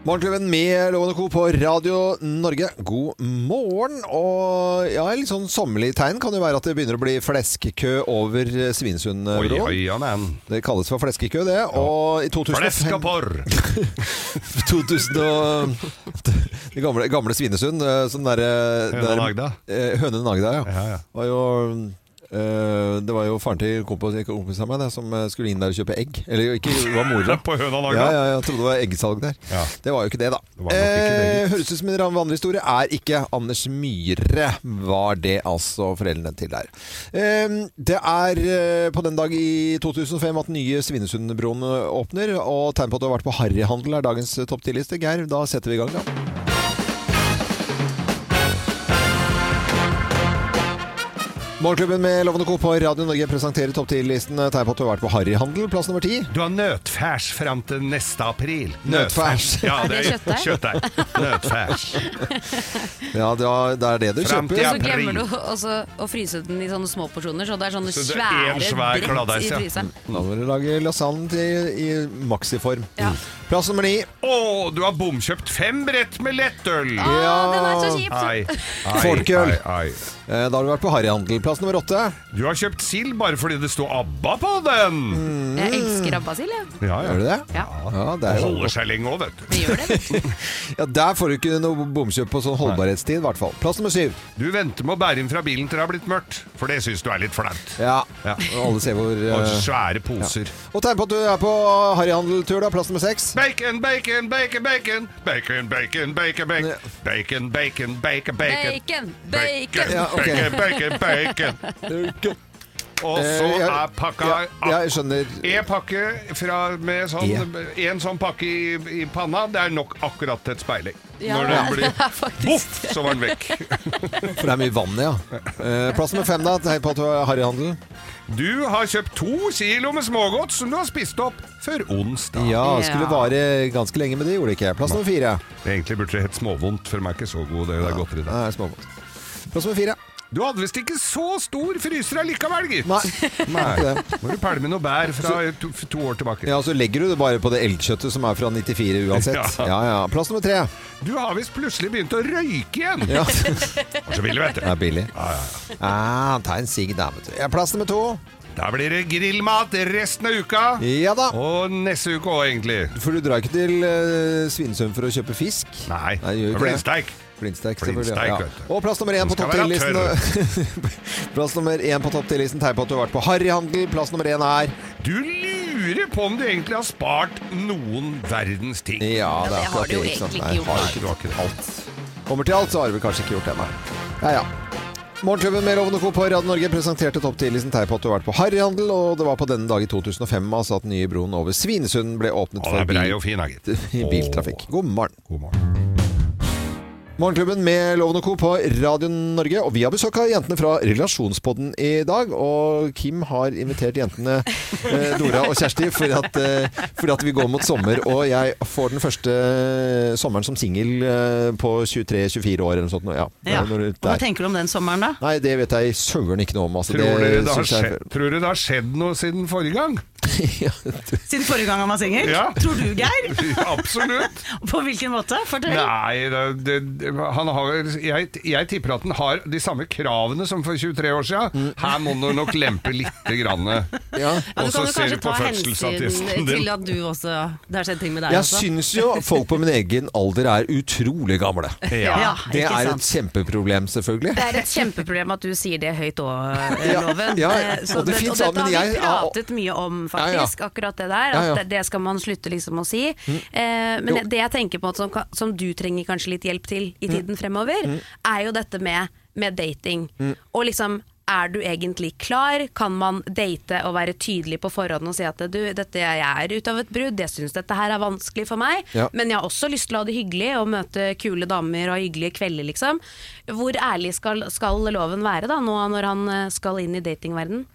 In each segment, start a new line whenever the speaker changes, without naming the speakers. Morgenklubben med Lovende Co. på Radio Norge. God morgen. Og ja, litt sånn sommerlig tegn kan jo være at det begynner å bli fleskekø over eh, Svinesund. eh,
Oi,
Bro.
oi, ja, men.
Det kalles for fleskekø, det. Og i 2005,
Fleskaporr!
2000 og, det gamle, gamle Svinesund, eh, som derre
Høna Nagda.
Hønen Agda, ja.
Ja, ja.
Var jo, eh, det var jo faren til kompis, kompisen av meg det, som eh, skulle inn der og kjøpe egg. Eller jo, ikke, det var mora.
På høna Nagda.
Ja, ja, jeg trodde det var eggsalg der.
Ja.
Det var jo ikke det, da.
Det var nok ikke det, gitt.
Eh, høres ut som en vanlig historie. Er ikke Anders Myhre, var det altså foreldrene til der. Eh, det er eh, på den dag i 2005 at nye Svinesundbroen åpner, og tegn på at du har vært på harryhandel er dagens topp 10-liste. Geir, da setter vi i gang, da. Morgenklubben med Lovende Co. på Radio Norge presenterer topp 10-listen tegn på at du har vært på harryhandel, plass nummer ti.
Du har nøtfærs fram til neste april.
Nøtfærs.
Ja,
Er det kjøttdeig?
kjøttdeig. Nøtfærs.
Ja, det er- det er det du
Frem til
kjøper.
Og
Ja,
så glemmer du
prim.
også å fryse den i sånne små porsjoner, så det er sånne
Så det er
svære
en svær
brett
kladdeis, ja.
i fryseren.
Da må du lage lasagne til, i maksiform.
Ja.
Plass nummer ni.
Å, du har bomkjøpt fem brett med lettøl!
Å,
Ja.
den er så kjip!
Ai, ai,
Folkeøl.
ai, ai.
Eh, Da har du vært på harryhandel. Plass nummer åtte.
Du har kjøpt sild bare fordi det sto ABBA på den!
Jeg elsker rabbasil, jeg.
Ja, ja.
Gjør du Mm. det?
Ja.
Ja, det er jo.
Holder seg lenge òg, vet du.
Vi gjør det.
ja, Der får du ikke noe bomkjøp på sånn holdbarhetstid, i hvert fall. Plass nummer syv.
Du venter med å bære inn fra bilen til det har blitt mørkt, for det syns du er litt flaut.
Ja.
Ja.
Alle ser hvor
Og
eh,
svære poser.
Og tegn på at du er på harryhandeltur, da. Plass nummer seks.
Bacon, bacon, bacon, bacon. Bacon, bacon, bacon, bacon. Bacon, bacon, bacon, bacon.
Bacon,
Bacon,
bacon.
Ja, ok.
bacon, bacon, bacon. Og så
Eh, ja,
er pakka
ja, ja, jeg skjønner.
En pakke fra, med sånn, en sånn pakke i, i panna, det er nok akkurat til et speiling.
Ja,
Når den
det
blir
er faktisk
voff, så var den vekk.
For det er mye vann, ja. Eh, Plass nummer fem, da. Tegn på at du er harryhandel.
Du har kjøpt to kilo med smågodt som du har spist opp før onsdag.
Ja,
Ja.
skulle vare ganske lenge, men det gjorde det ikke. Plass nummer fire.
Egentlig burde det hett småvondt, for de er ikke så gode. Det er godteri
Det
der.
er smågodt. Plass nummer fire.
Du hadde visst ikke så stor fryser allikevel, gitt.
Nei.
Nei. Må du pælme noe bær fra to, to år tilbake.
Ja, så legger du det bare på det elgkjøttet som er fra 94 uansett.
Ja.
Ja, ja. Plass nummer tre.
Du har visst plutselig begynt å røyke igjen!
Ja.
Det var så billig, vet
Det
du.
er billig. Ah, ta en sigg der, vet du. Ja, plass nummer to.
Da blir det grillmat resten av uka.
Ja da.
Og neste uke òg, egentlig.
For du drar ikke til uh, Svinesund for å kjøpe fisk?
Nei,
Nei, gjør
det
ikke
blir
det.
steik.
Blindsteik, selvfølgelig.
Blindsteik,
Ja.
vet du.
Og plass nummer én
Den
på
skal
topp
være
10-listen. plass nummer én på topp 10-listen tegn på at du har vært på harryhandel. Plass nummer én er
Du lurer på om du egentlig har spart noen verdens ting.
Ja,
det har
akkurat
du jo
ikke sant?
egentlig
Nei,
ikke gjort.
har
Det var ikke det.
alt. Kommer til alt, så har vi kanskje ikke gjort det, nei. Ja, ja. Morgenklubben med Lovende Co. på Radio Norge presenterte topp 10-listen tegn på at du har vært på harryhandel, og det var på denne dag i 2005 altså at den nye broen over Svinesund ble åpnet
Å, den
for
er brei
bil,
og fin, da, gitt.
biltrafikk.
Å.
God morgen.
God morgen.
Morgenklubben med Lovende Co. på Radio Norge, og vi har besøk av jentene fra Relasjonspodden i dag. Og Kim har invitert jentene, eh, Dora og Kjersti, for at, eh, for at vi går mot sommer. Og jeg får den første sommeren som singel eh, på 23-24 år eller noe sånt. nå, Ja.
Ja.
Når du-
Og Hva tenker du om den sommeren, da?
Nei, det vet jeg søren ikke noe om. Altså,
Tror dere det har
synes jeg-
skjedd, tror dere det har skjedd noe siden forrige gang?
Ja, det-
Siden forrige gang han var singel?
Ja.
Tror du, Geir?
Absolutt.
På hvilken måte? Fortell.
Nei, det, det, han har, jeg, jeg tipper at han har de samme kravene som for 23 år siden. Her må du nok lempe lite grann.
Mm. ja.
Ja,
Og
du
så
kan jo
ser
kanskje
du
ta
på fødselsattesten
hensyn
din.
til at du også Det har skjedd ting med deg
Jeg
også.
syns jo folk på min egen alder er utrolig gamle.
Ja,
Det
ikke
er et
sant.
kjempeproblem, selvfølgelig.
Det er et kjempeproblem at du sier det høyt òg,
Ja,
Loven.
ja,
Eh,
og det finnes,
og dette har
men
vi
jeg-
pratet mye om, faktisk, akkurat det der.
Ja, ja.
At det- det skal man slutte liksom å si. Eh, men
Mm. Jo. Mm.
det jeg tenker på at som, kan- som du trenger
Mm.
kanskje litt hjelp til i tiden fremover, er jo dette med, med dating. Og liksom Er du egentlig klar? Kan man date og være tydelig på forhånd og si at du, dette jeg er ute av et brudd, jeg syns dette her er vanskelig for meg,
Ja.
men jeg har også lyst til å ha det hyggelig og møte kule damer og ha hyggelige kvelder, liksom. Hvor ærlig skal, skal loven være da, nå når han eh, skal inn i datingverden?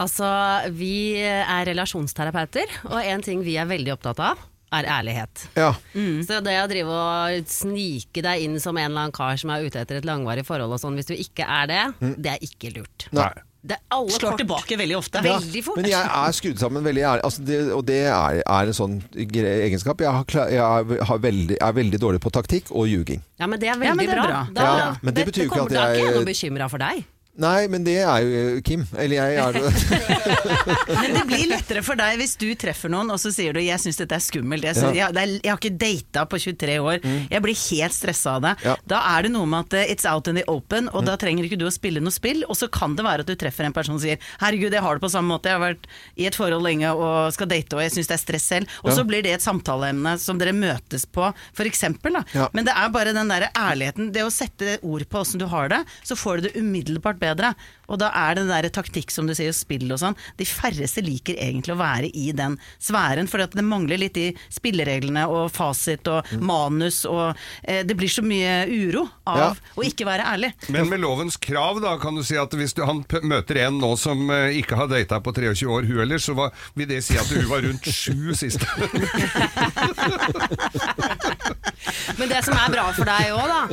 Altså, vi er relasjonsterapeuter, og en ting vi er veldig opptatt av, er ærlighet.
Ja.
Mm.
Så det å drive og snike deg inn som en eller annen kar som er ute etter et langvarig forhold og sånn, hvis du ikke er det,
Mm.
det er ikke lurt.
Nei.
Det er alle
Slår
kort.
tilbake veldig ofte.
Veldig fort.
Men jeg er skrudd sammen veldig ærlig, altså det, og det er, er en sånn gre- egenskap. Jeg, har, kla- jeg er, har veldig, er veldig dårlig på taktikk og ljuging.
Ja, men det er veldig
Ja, men det er
bra.
bra.
Da,
Ja, men det betyr jo ikke
kommer-
at
Da er
jeg-
ikke jeg noe bekymra for deg.
Nei, men det er jo eh, Kim. Eller jeg er det.
Men det blir lettere for deg hvis du treffer noen og så sier du 'jeg syns dette er skummelt', jeg, synes, jeg, det er- jeg har ikke data på 23 år, jeg blir helt stressa av det.
Ja.
Da er det noe med at eh, it's out in the open, og da trenger ikke du å spille noe spill. Og så kan det være at du treffer en person og sier 'herregud, jeg har det på samme måte, jeg har vært i et forhold lenge og skal date og jeg syns det er stress selv'. Og så blir det et samtaleemne som dere møtes på, f.eks.
Ja.
Ja. Men det er bare den derre ærligheten, det å sette ord på åssen du har det, så får du det umiddelbart bedre. Og da er det den derre taktikk som du sier, spill og sånn. De færreste liker egentlig å være i den sfæren, for det mangler litt i spillereglene og fasit og
Mm.
manus og eh, Det blir så mye uro av
Ja.
å ikke være ærlig.
Men med lovens krav da, kan du si at hvis du, han p møter en nå som eh, ikke har data på 23 år, hun ellers, så var, vil det si at hun var rundt sju sist.
Men det som er bra for deg òg, da,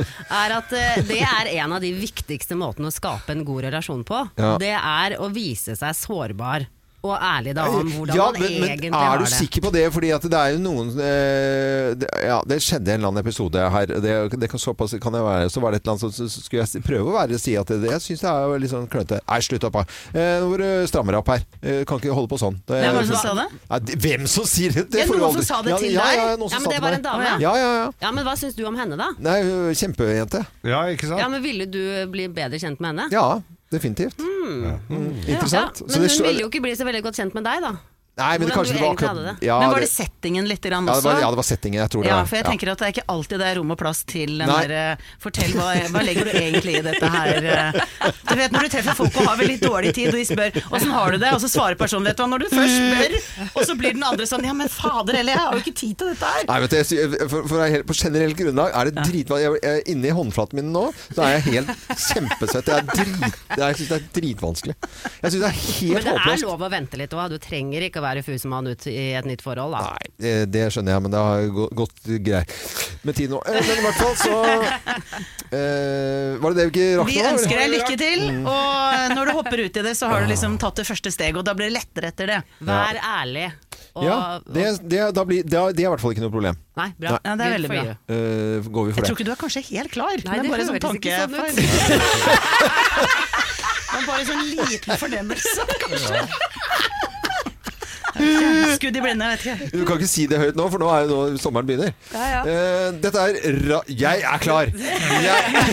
er at eh, det er en av de viktigste måtene å skape en god relasjon på.
Ja.
Det er å vise seg sårbar og ærlig da om hvordan
Eh, Ja,
man
men,
egentlig
men er
har
du
det.
sikker på det? Fordi at det er jo noen eh, det, Ja, det skjedde en eller annen episode her. Det, det kan såpass kan jeg være. Så var det et eller annet som så skulle jeg si- prøve å være si at det, jeg syns det er jo litt sånn klønete. Nei, slutt opp, da. Eh, Nå må du stramme deg opp her. Eh, Kan ikke holde på sånn. Det-
Hvem var det som sa det?
Nei, det- hvem som sier det?
Ja,
får du
noen
aldri-
som sa det til
ja,
deg.
Ja, ja, noen
Ja,
som
men
sa
det var
til
en dame.
meg. Ja, ja, ja.
Ja, men hva syns du om henne, da?
Nei, hun er kjempejente.
Ja, ikke sant?
Ja, men Ville du bli bedre kjent med henne?
Ja, definitivt. Mm, interessant.
Ja,
Så
men
det
hun
slår-
ville jo ikke bli så veldig godt kjent med deg, da.
Nei, men det
hvordan
kanskje
du
det
egentlig
var akkurat
hadde
ja,
men var det settingen litt grann
ja, det
også?
var, ja, det var settingen. Jeg tror det
Ja,
var
for jeg
ja.
tenker at det er ikke alltid det er rom og plass til den
Nei.
derre Fortell, hva, hva legger du egentlig i dette her? eh?» Du vet når du treffer folk og har veldig dårlig tid, og de spør 'åssen har du det?' og så svarer personen 'vet du hva, når du først
Mm.
spør', og så blir den andre sånn 'ja, men fader heller, jeg har jo ikke tid til dette her'.
Nei, vet du, jeg, sy- for, for å være helt, på generelt grunnlag er det dritvanskelig. Jeg- jeg- Inni håndflaten min nå, så er jeg helt kjempesøt. Jeg, er drit, jeg syns det er dritvanskelig. Jeg syns det
Men
er helt
det er
håpløst.
lov å vente litt òg. Du trenger ikke å være fusmann ut i et nytt forhold, da.
Nei, det, det skjønner jeg, men det har gå- gått greit med tid nå. Eh, Men i hvert fall så eh, Var det det vi ikke rakk
Vi
nå? eller?
ønsker deg lykke til, og når du hopper ut i det, så har du liksom tatt det første steget, og da blir det lettere etter det.
Vær ærlig. Og,
Ja, det, det, da blir, det, er, det er i hvert fall ikke noe problem.
Nei, bra.
Ja, det er
Good
veldig
for
bra.
you.
Eh, går vi for
Jeg
det?
tror ikke du er kanskje helt klar,
Nei,
det
det
er bare sånn
høres ikke
tanke...
sånn ut.
Det er bare sånn liten fornemmelse, kanskje. Skudd i blinde, jeg vet ikke.
Du kan ikke si det høyt nå, for nå er jo nå sommeren begynner. Eh, dette er ra Jeg er klar! Jeg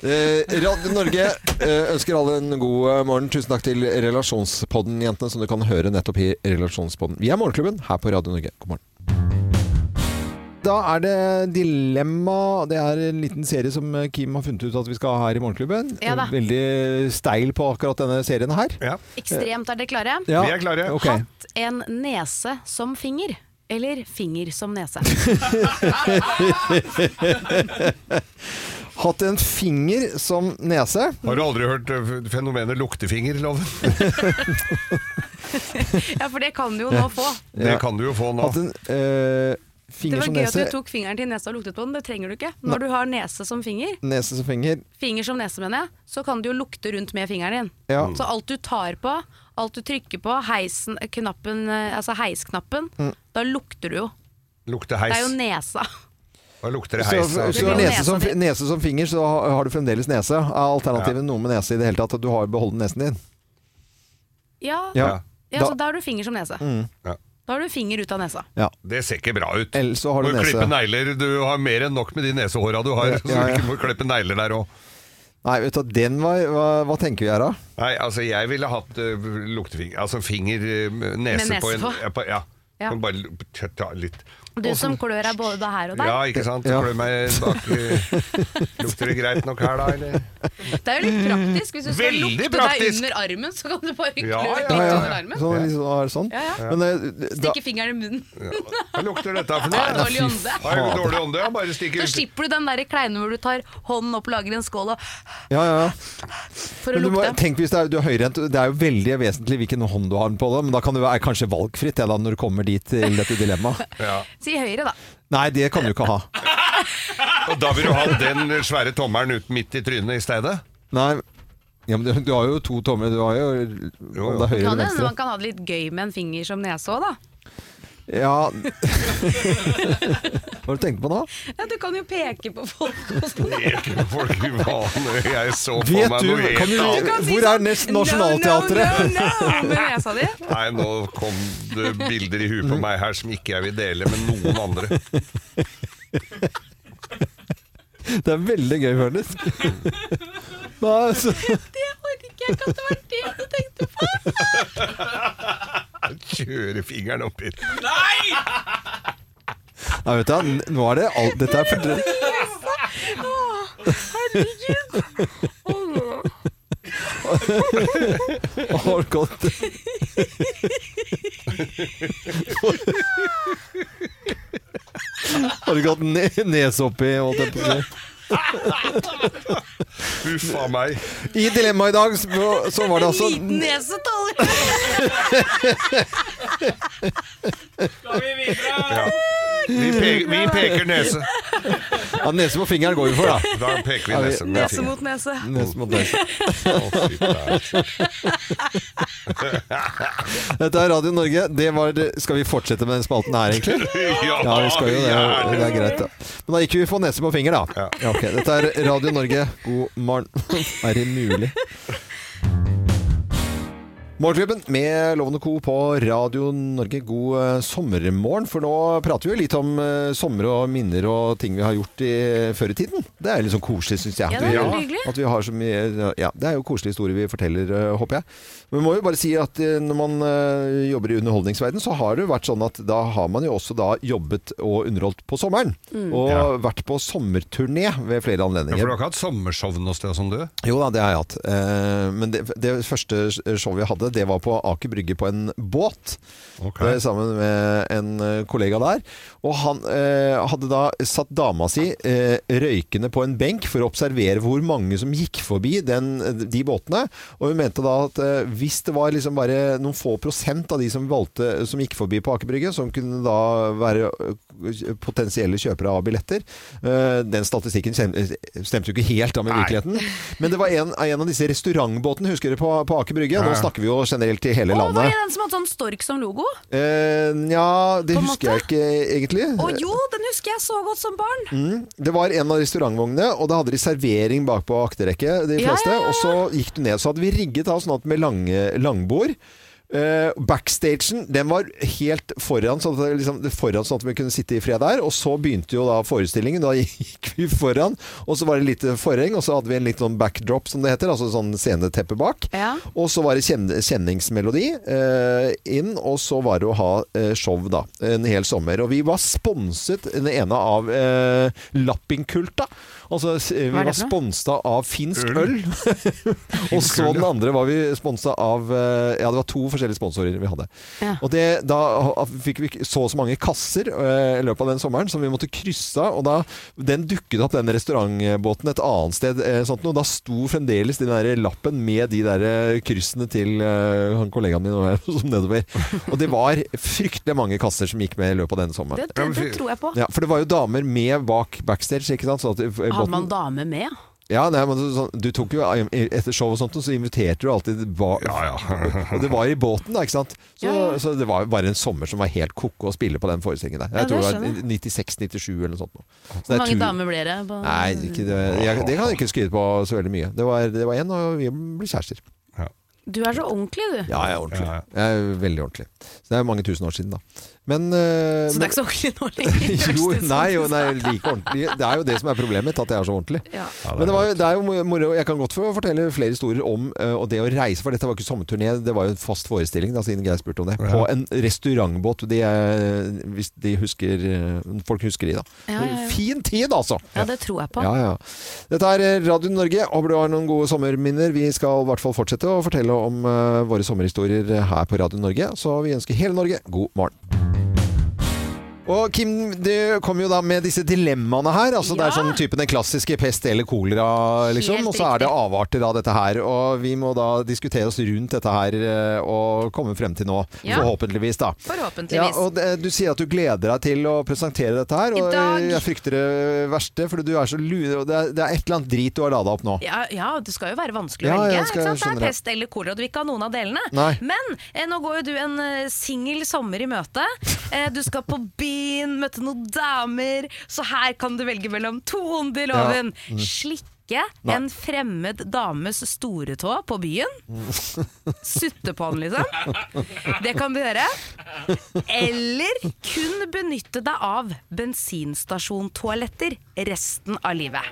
Eh, Radio Norge eh, ønsker alle en god eh, morgen. Tusen takk til Relasjonspodden, jentene, som du kan høre nettopp i Relasjonspodden. Vi er Morgenklubben her på Radio Norge. God morgen. Da er det Dilemma. Det er en liten serie som eh, Kim har funnet ut at vi skal ha her i Morgenklubben.
Ja da.
Veldig steil på akkurat denne serien her.
Ja.
Ekstremt, er dere klare?
Ja,
Vi er klare.
ok.
Hatt en nese som finger, eller finger som nese?
Hatt en finger som nese.
Har du aldri hørt eh, fenomenet luktefingerloven?
Ja, for det kan du jo nå få.
Ja.
Det kan du jo få nå.
Hatt en eh,
Det
finger
var
som
gøy at
nese.
du tok fingeren til nesa og luktet på den, det trenger du ikke. Når du har nese som finger,
Nese som finger.
finger som nese mener jeg, så kan du jo lukte rundt med fingeren din.
Ja.
Så alt du tar på, alt du trykker på, heisen, knappen, eh, altså heisknappen, da lukter du jo.
Lukter
Det er jo
heis.
nesa.
Da lukter det
Så
heis.
hvis du
altså.
har
blir jo
nese som,
nesa di.
nese som finger, så har har du fremdeles nese. Er alternativet noe med nese i det hele tatt? At du har beholden nesen din?
Ja, ja,
Ja.
så da har du finger som nese.
Ja.
Da har du finger ut av nesa.
Det ser ikke bra ut.
Eller så har
Må
du
jo
nese.
klippe negler. Du har mer enn nok med de nesehåra du har,
Ja,
så
ja,
du
ja.
ikke må klippe negler der òg.
Nei, vet du hva, den var hva, hva tenker vi her da?
Nei, altså jeg ville hatt eh, luktefinger Altså finger, eh, nese,
nese
på en
på.
Ja, på, ja.
Ja.
Kan Bare l- ta- ta litt
Du som klør deg både her og der.
Ja, ikke sant?
Ja.
Klør meg bak eh, Lukter det greit nok her, da? Eller?
Det er jo
Mm.
litt praktisk. Hvis du skal
Veldig
lukte
praktisk.
deg under armen, så kan du bare klø
Ja, ja,
litt
Ja,
under
ja.
armen.
Sånn, liksom, er det sånn.
Ja,
Men eh, da,
Stikke fingeren i munnen.
Hva lukter dette for noe?
Dårlig ånde.
Har jeg dårlig ånde? Jeg bare stikker
Så slipper du den der kleine hvor du tar hånden opp, lager en skål og
ja, ja, ja.
For å
Men du må,
lukte.
tenk hvis det er, du er høyrehendt, det er jo veldig vesentlig hvilken hånd du har den på, da, men da kan det være kanskje valgfritt ja, da, når du kommer dit til dette dilemmaet.
Ja.
Si høyre, da.
Nei, det kan du ikke ha.
Og da vil du ha den svære tommelen ut midt i trynet i stedet?
Nei, ja, men du, du har jo to tommer. Du har jo om det er høyre
Kan
eller
det, hende
venstre.
man kan ha det litt gøy med en finger som nese òg, da.
Ja. Hva har du tenkt på nå?
Ja, du kan jo peke på folk og sånn.
Ikke folk i vane. Jeg så på
Vet
meg
du,
noe
kan
helt
du-
annet.
Kan si
Hvor
sånn,
er nest- Nationaltheatret?
No, no, no, med nesa di.
Nei, nå kom det bilder i huet på meg her som ikke jeg vil dele med noen andre.
Det er veldig gøy, Ferndes. Nei, altså,
Jeg orker ikke, jeg kan ikke være det du tenkte på.
Kjøre fingeren oppi.
nei, vet du, hva, nå er det alt Dette er for Har du gått Har du gått ne nes oppi? Holdt jeg på å si?
Huff a meg.
I dilemmaet i dag så så var det altså
Liten nese tåler
Ja. Vi, peker, vi peker nese.
ja, Nese på fingeren går vi for, da.
Da peker vi
Ja, vi-
nese med
nese
fingeren.
mot nese.
Nese mot nese.
Å, fy faen.
Dette er Radio Norge. Det var det. Skal vi fortsette med den spalten her, egentlig? Ja, vi skal jo det. og Det er greit, da. Men da gikk vi for nese på finger, da.
Ja.
Ja, ok. Dette er Radio Norge. God morgen. Er det mulig? Morgenklubben med Loven og Co. på Radio Norge. God eh, sommermorgen. For nå prater vi jo litt om eh, sommer og minner og ting vi har gjort i, før i tiden. Det er litt sånn koselig, syns jeg.
Ja,
at
det
vi-
er veldig hyggelig.
At vi har så mye Ja, det er jo koselige historier vi forteller, eh, håper jeg. Men vi må jo bare si at eh, når man eh, jobber i underholdningsverden, så har det jo vært sånn at da har man jo også da jobbet og underholdt på sommeren. Og
Ja.
vært på sommerturné ved flere
Ja, for du
anledninger.
har ikke hatt sommershow noe sted som du?
Jo da, det har jeg hatt. Eh, Men det, det første showet jeg hadde, det var på Aker Brygge på en båt. Det er Sammen med en eh, kollega der. Og han eh, hadde da satt dama si eh, røykende på en benk for å observere hvor mange som gikk forbi den, de båtene. Og hun mente da at eh, hvis det var liksom bare noen få prosent av de som, valgte, som gikk forbi på Aker Brygge, som kunne da være eh, potensielle kjøpere av billetter eh, Den statistikken stem- stemte jo ikke helt da med
Nei.
virkeligheten. Men det var en, en av disse restaurantbåtene, husker dere, på, på Aker Brygge. Nå
Ja.
snakker vi jo generelt til hele
Å, var
landet.
det den som hadde sånn stork som logo? Å
Eh, ja, det
På en
husker jeg ikke egentlig.
jo, den husker jeg så godt som barn.
Mm. Det var en av restaurantvognene, og da hadde de servering bak på akterrekket, de
Ja,
fleste.
ja, ja, ja.
Og så gikk du ned, så hadde vi rigget da, sånn at med lange, langbord. Eh, backstagen den var helt foran, sånn at, det liksom, det foran, sånn at vi kunne sitte i fred der. Og så begynte jo da forestillingen. Da gikk vi foran, og så var det litt forheng, og så hadde vi en litt sånn backdrop, som det heter. Altså sånn sceneteppe bak.
Ja.
Og så var det kjen kjenningsmelodi eh, inn, og så var det å ha eh, show da, en hel sommer. Og vi var sponset, den ene av eh, Lappingkulta. Altså, s- vi
Hva er
var
det for
sponsa av finsk
Øl.
øl. og så
øl,
den
ja.
andre var vi sponsa av eh, Ja, det var to forskjellige sponsorer vi hadde.
Ja.
Og det, da ha- fikk vi k- så og så mange kasser eh, i løpet av den sommeren som vi måtte krysse av. Og da den dukket opp, den restaurantbåten, et annet sted. eh, Sånt, noe. da sto fremdeles den der lappen med de der eh, kryssene til eh, han kollegaen min og jeg, som nedover. Og det var fryktelig mange kasser som gikk med i løpet av denne sommeren.
Det, det, det tror jeg på.
Ja, for det var jo damer med bak backstage, ikke sant? Sånn at, eh,
Hadde
båten-
man dame med?
ja, nei, men sånn, du tok jo Etter show og sånt Så inviterte du alltid ba,
Ja, ja.
Og det var i båten da, ikke sant? Så,
Ja, ja.
så det var jo bare en sommer som var helt kokk Å spille på den forestillingen der
Ja,
Jeg tror det
det
var 96-97 eller noe sånt nå. Så det er
Hvor mange
tur-
damer ble det? På
Nei, ikke det, jeg, det kan jeg ikke skryte på så veldig mye Det var, det var en, og vi ble kjærester
Du er så ordentlig, du.
Ja, jeg er ordentlig
Ja, ja.
Jeg er veldig ordentlig Så det er mange tusen år siden da Men, eh,
Så det er ikke så ordentlig nå lenger.
men- jo,
Kjersti, sånn
nei, jo,
synes
nei,
jeg.
like ordentlig. Det er jo det som er problemet mitt, at jeg er så ordentlig.
Ja.
Men det, var, jo- det er jo moro. Jeg kan godt få fortelle flere historier om eh, og det å reise. For dette var ikke sommerturné, det var jo en fast forestilling, da, siden Geir spurte om det. På en restaurantbåt. De er, eh, hvis de husker eh, Folk husker de, da.
Ja, ja, ja.
Fin tid, altså!
ja, det tror jeg på.
Ja, ja. Dette er eh, Radio Norge. Håper du har noen gode sommerminner. Vi skal i hvert fall fortsette å fortelle om eh, våre sommerhistorier her på Radio Norge. Så vi ønsker hele Norge god morgen. Og Kim, du kom jo da med disse dilemmaene her. Altså Det er
Ja.
sånn typen den klassiske pest eller kolera, liksom.
Helt
Og så er det
riktig.
avarter av dette her. Og vi må da diskutere oss rundt dette her eh, og komme frem til noe.
Ja.
Forhåpentligvis, da. Ja,
Forhåpentligvis.
og det, Du sier at du gleder deg til å presentere dette her.
I
Og
dag.
jeg frykter det verste, for du er så lue. Og det, er, det er et eller annet drit du har lada opp nå.
Ja, ja, det skal jo være vanskelig
Ja,
å velge.
ja, det skal-
ikke sant?
jeg skjønner
Det
det.
er pest eller kolera, du vil ikke ha noen av delene.
Nei.
Men eh, nå går jo du en eh, singel sommer i møte. Eh, du skal på byen, møte noen damer. Så her kan du velge mellom to onde i loven. Slikke
Mm. Nei.
en fremmed dames storetå på byen. Sutte på den, liksom. Det kan du gjøre. Eller kun benytte deg av bensinstasjontoaletter resten av livet.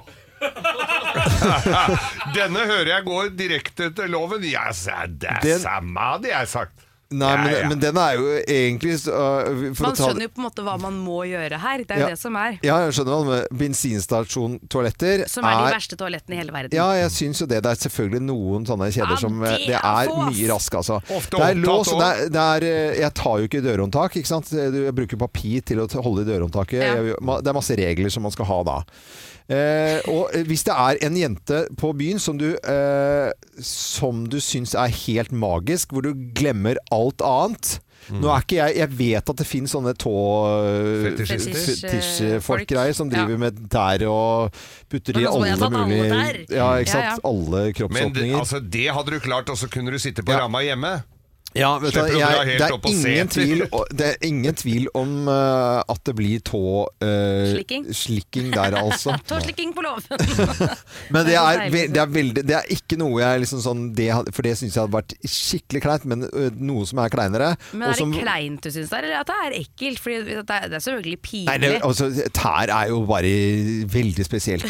Ah, Denne hører jeg går direkte til loven. Ja, sa- det er
Den-
samme det jeg har sagt.
Nei, men,
Ja, ja.
men den er jo egentlig så- øh, for å
Man
ta-
skjønner jo på en måte hva man må gjøre her. Det er
Ja.
jo det som er.
Ja, jeg skjønner hva du mener. Bensinstasjontoaletter
Som er de verste toalettene i hele verden.
Ja, jeg syns jo det. Det er selvfølgelig noen sånne kjeder
Ja,
som eh,
det
Det
er
er
få, ass.
mye rask, altså. det
Ofte
er
opptatt
lås, og det
også.
er, det er eh, Jeg tar jo ikke dørhåndtak, ikke sant. Eh, Du- Jeg bruker papir til å t- holde i dørhåndtaket.
Ja.
Jeg- ma- Det er masse regler som man skal ha da. Eh, og eh, hvis det er en jente på byen som du, eh, som du syns er helt magisk, hvor du glemmer alt annet
Mm.
Nå er ikke jeg Jeg vet at det finnes sånne tå...
Fetisjister.
Fetisj-folk.
Fetisjfolk-greier som driver
Ja.
med tær og putter i
Men altså, jeg
alle
har tatt alle
mulige
tær.
Ja, ikke
Ja,
sant? Alle
Men det,
kroppsåpninger.
altså, det hadde du klart, og så kunne du sitte på
Ja.
ramma hjemme.
ja, vet du,
slipper å dra
jeg,
helt
det,
opp
er
og se
ingen
etter.
tvil, o- det er ingen tvil om eh, at det blir tå... eh,
Slikking.
slikking der, altså.
Tåslikking på låven!
Men det
Det er
er,
så
ve-
deilig.
det er, veldig, det er ikke noe jeg liksom sånn det, had- For det syns jeg hadde vært skikkelig kleint, men ø, noe som er kleinere.
Men
og
er det
som-
kleint du syns det er, eller at det er ekkelt? Fordi det er, det er selvfølgelig pinlig.
Nei, det, altså, tær er jo bare veldig spesielt.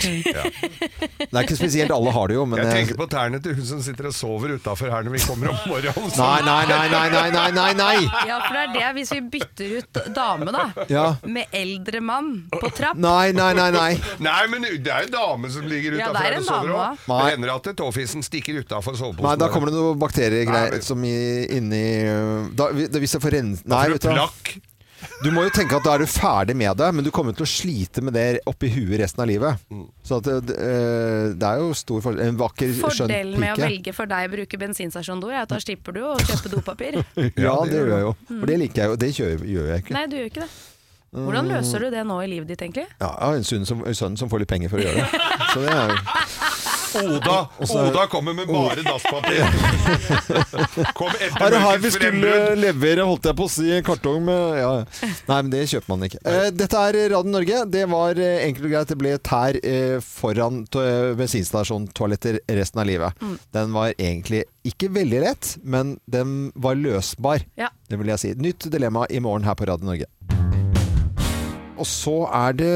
Det er ikke spesielt, alle har det jo, men
Jeg
jeg-
tenker på tærne til hun som sitter og sover utafor her når vi kommer om morgenen. Så.
Nei, nei, nei, nei, nei, nei, nei, nei.
Ja, for det er det, hvis vi bytter ut dame, da,
Ja.
med eldre mann på trapp
Nei, nei, nei, nei.
Nei, men det er en dame som ligger
Ja,
utafor
det er
her og
en
sover
dame
òg.
også.
Det hender at tåfisen stikker utafor soveposen.
Nei, da kommer det noen
Nei,
bakteriegreier
men-
som i, inni ø, da, vi- da- Hvis jeg får rense Nei,
Har
vet
du
du hva.
plakk?
Du må jo tenke at da er du ferdig med det, men du kommer til å slite med det oppi huet resten av livet. Så at, det, ø, det er jo stor forskjell. En vakker, skjønn pike.
Fordelen med å velge for deg å bruke bensinstasjondor, er at da slipper du å kjøpe dopapir.
Ja, det gjør jeg jo. Og det liker jeg jo. Det kjører, gjør jeg ikke.
Nei, du gjør ikke det.
Mm.
Hvordan løser du det nå i livet ditt, egentlig?
Ja, jeg har en sønn som, en sønn som får litt penger for å gjøre det. Så det er jo
Oda,
altså-
Oda kommer med bare dasspapir. Kom
Her og her vi
eplebøkens
skulle
frembrudd.
levere, holdt jeg på å si, en kartong med ja. ja. Nei, men det kjøper man ikke. Eh, dette er Radio Norge. Det var eh, enkelt og greit. Det ble tær eh, foran to- eh, bensinstasjontoaletter resten av livet.
Mm.
Den var egentlig ikke veldig lett, men den var løsbar.
Ja.
Det vil jeg si. Nytt dilemma i morgen her på Radio Norge. Og så er det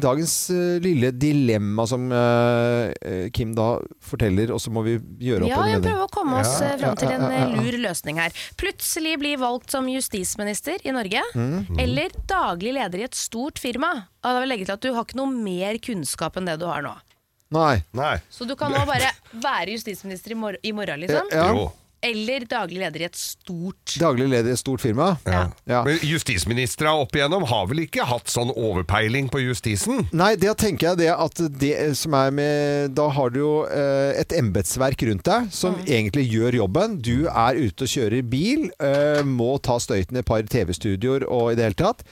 dagens eh, lille dilemma som eh, eh, Kim da forteller, og så må vi gjøre opp
Ja,
en
jeg
mening.
prøver å komme oss eh, fram til en
ja, ja,
eh, lur løsning her. Plutselig bli valgt som justisminister i Norge,
Mm.
eller daglig leder i et stort firma. Ja, Da vil jeg legge til at Du har ikke noe mer kunnskap enn det du har nå.
Nei.
Nei.
Så du kan nå bare være justisminister i, mor i morgen, liksom.
Ja.
Jo.
Eller daglig leder i et stort
Daglig leder i et stort firma.
Ja.
Ja.
Men justisministra opp igjennom har vel ikke hatt sånn overpeiling på justisen?
Nei, det tenker jeg det at det som er med Da har du jo eh, et embetsverk rundt deg som egentlig gjør jobben. Du er ute og kjører bil, eh, må ta støyten i et par TV-studioer og i det hele tatt.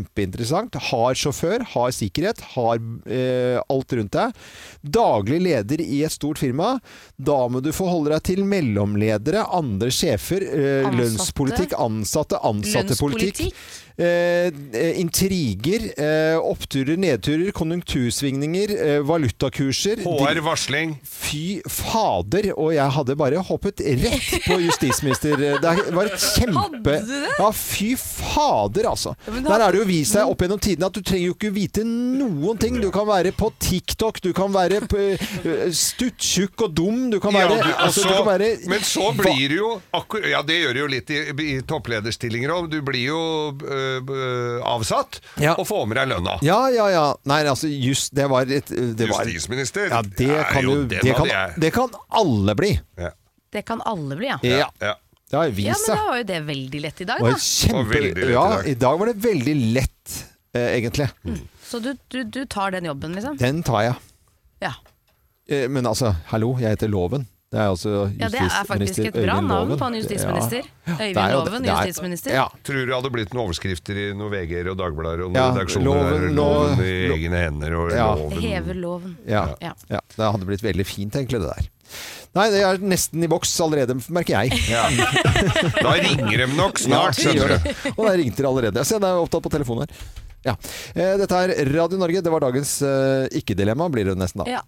Kjempeinteressant. Har sjåfør, har sikkerhet, har eh, alt rundt deg. Daglig leder i et stort firma. Da må du forholde deg til mellomledere. ledere, andre sjefer, eh,
Ansatte.
lønnspolitikk, ansatte, ansattepolitikk.
Lønnspolitikk.
Eh, eh, intriger, eh, oppturer, nedturer, konjunktursvingninger, eh, valutakurser.
HR varsling.
Fy fader, og jeg hadde bare hoppet rett på justisminister. Eh, Det var et kjempe...
Hadde du det?
Ja, fy fader, altså.
men da-
Der er det jo vist seg opp gjennom tidene at du trenger jo ikke vite noen ting. Du kan være på TikTok, du kan være på, eh, stuttjukk og dum, du kan
Ja,
være...
du, og
altså, du
så,
kan være
men så blir du jo akkur- Ja, det gjør du jo litt i, i topplederstillinger òg. Du blir jo øh, øh, avsatt
Ja.
og får med deg lønna.
Ja, ja, ja. Nei, altså, just, det var et... Det var,
Justisminister.
ja, det
er
kan,
jo
du,
den
det,
hadde
kan,
jeg.
det kan alle bli.
Ja.
Det kan alle bli, ja.
Ja,
Ja.
det har
Ja,
vist
men
seg.
da var jo det veldig lett i dag,
Det
da.
var kjempe...
Det var veldig lett i
ja,
dag. Mm.
i dag var det veldig lett, eh, egentlig.
Så du, du, du tar den jobben, liksom?
Den tar jeg.
Ja.
Eh, Men altså, hallo, jeg heter Loven. Det er altså
ja det er faktisk et bra navn på en justisminister. Øyvind Loven, justisminister.
Ja.
Tror du det hadde blitt noen overskrifter i noen VG-er og Dagblader og noen
Ja,
redaksjoner?
loven,
der,
lo-
loven i
lo-
egne hender og
Ja.
loven
Hever loven.
Ja, ja,
Ja.
ja. Det hadde blitt veldig fint, egentlig, det der. Nei, det er nesten i boks allerede, merker jeg.
ja. Da ringer de nok snart,
Ja, gjør
skjønner du.
det. Og der ringte det allerede. Se, det er opptatt på telefonen her. Ja. Eh, Dette er Radio Norge. Det var dagens eh, ikke-dilemma, blir det nesten da.
Ja.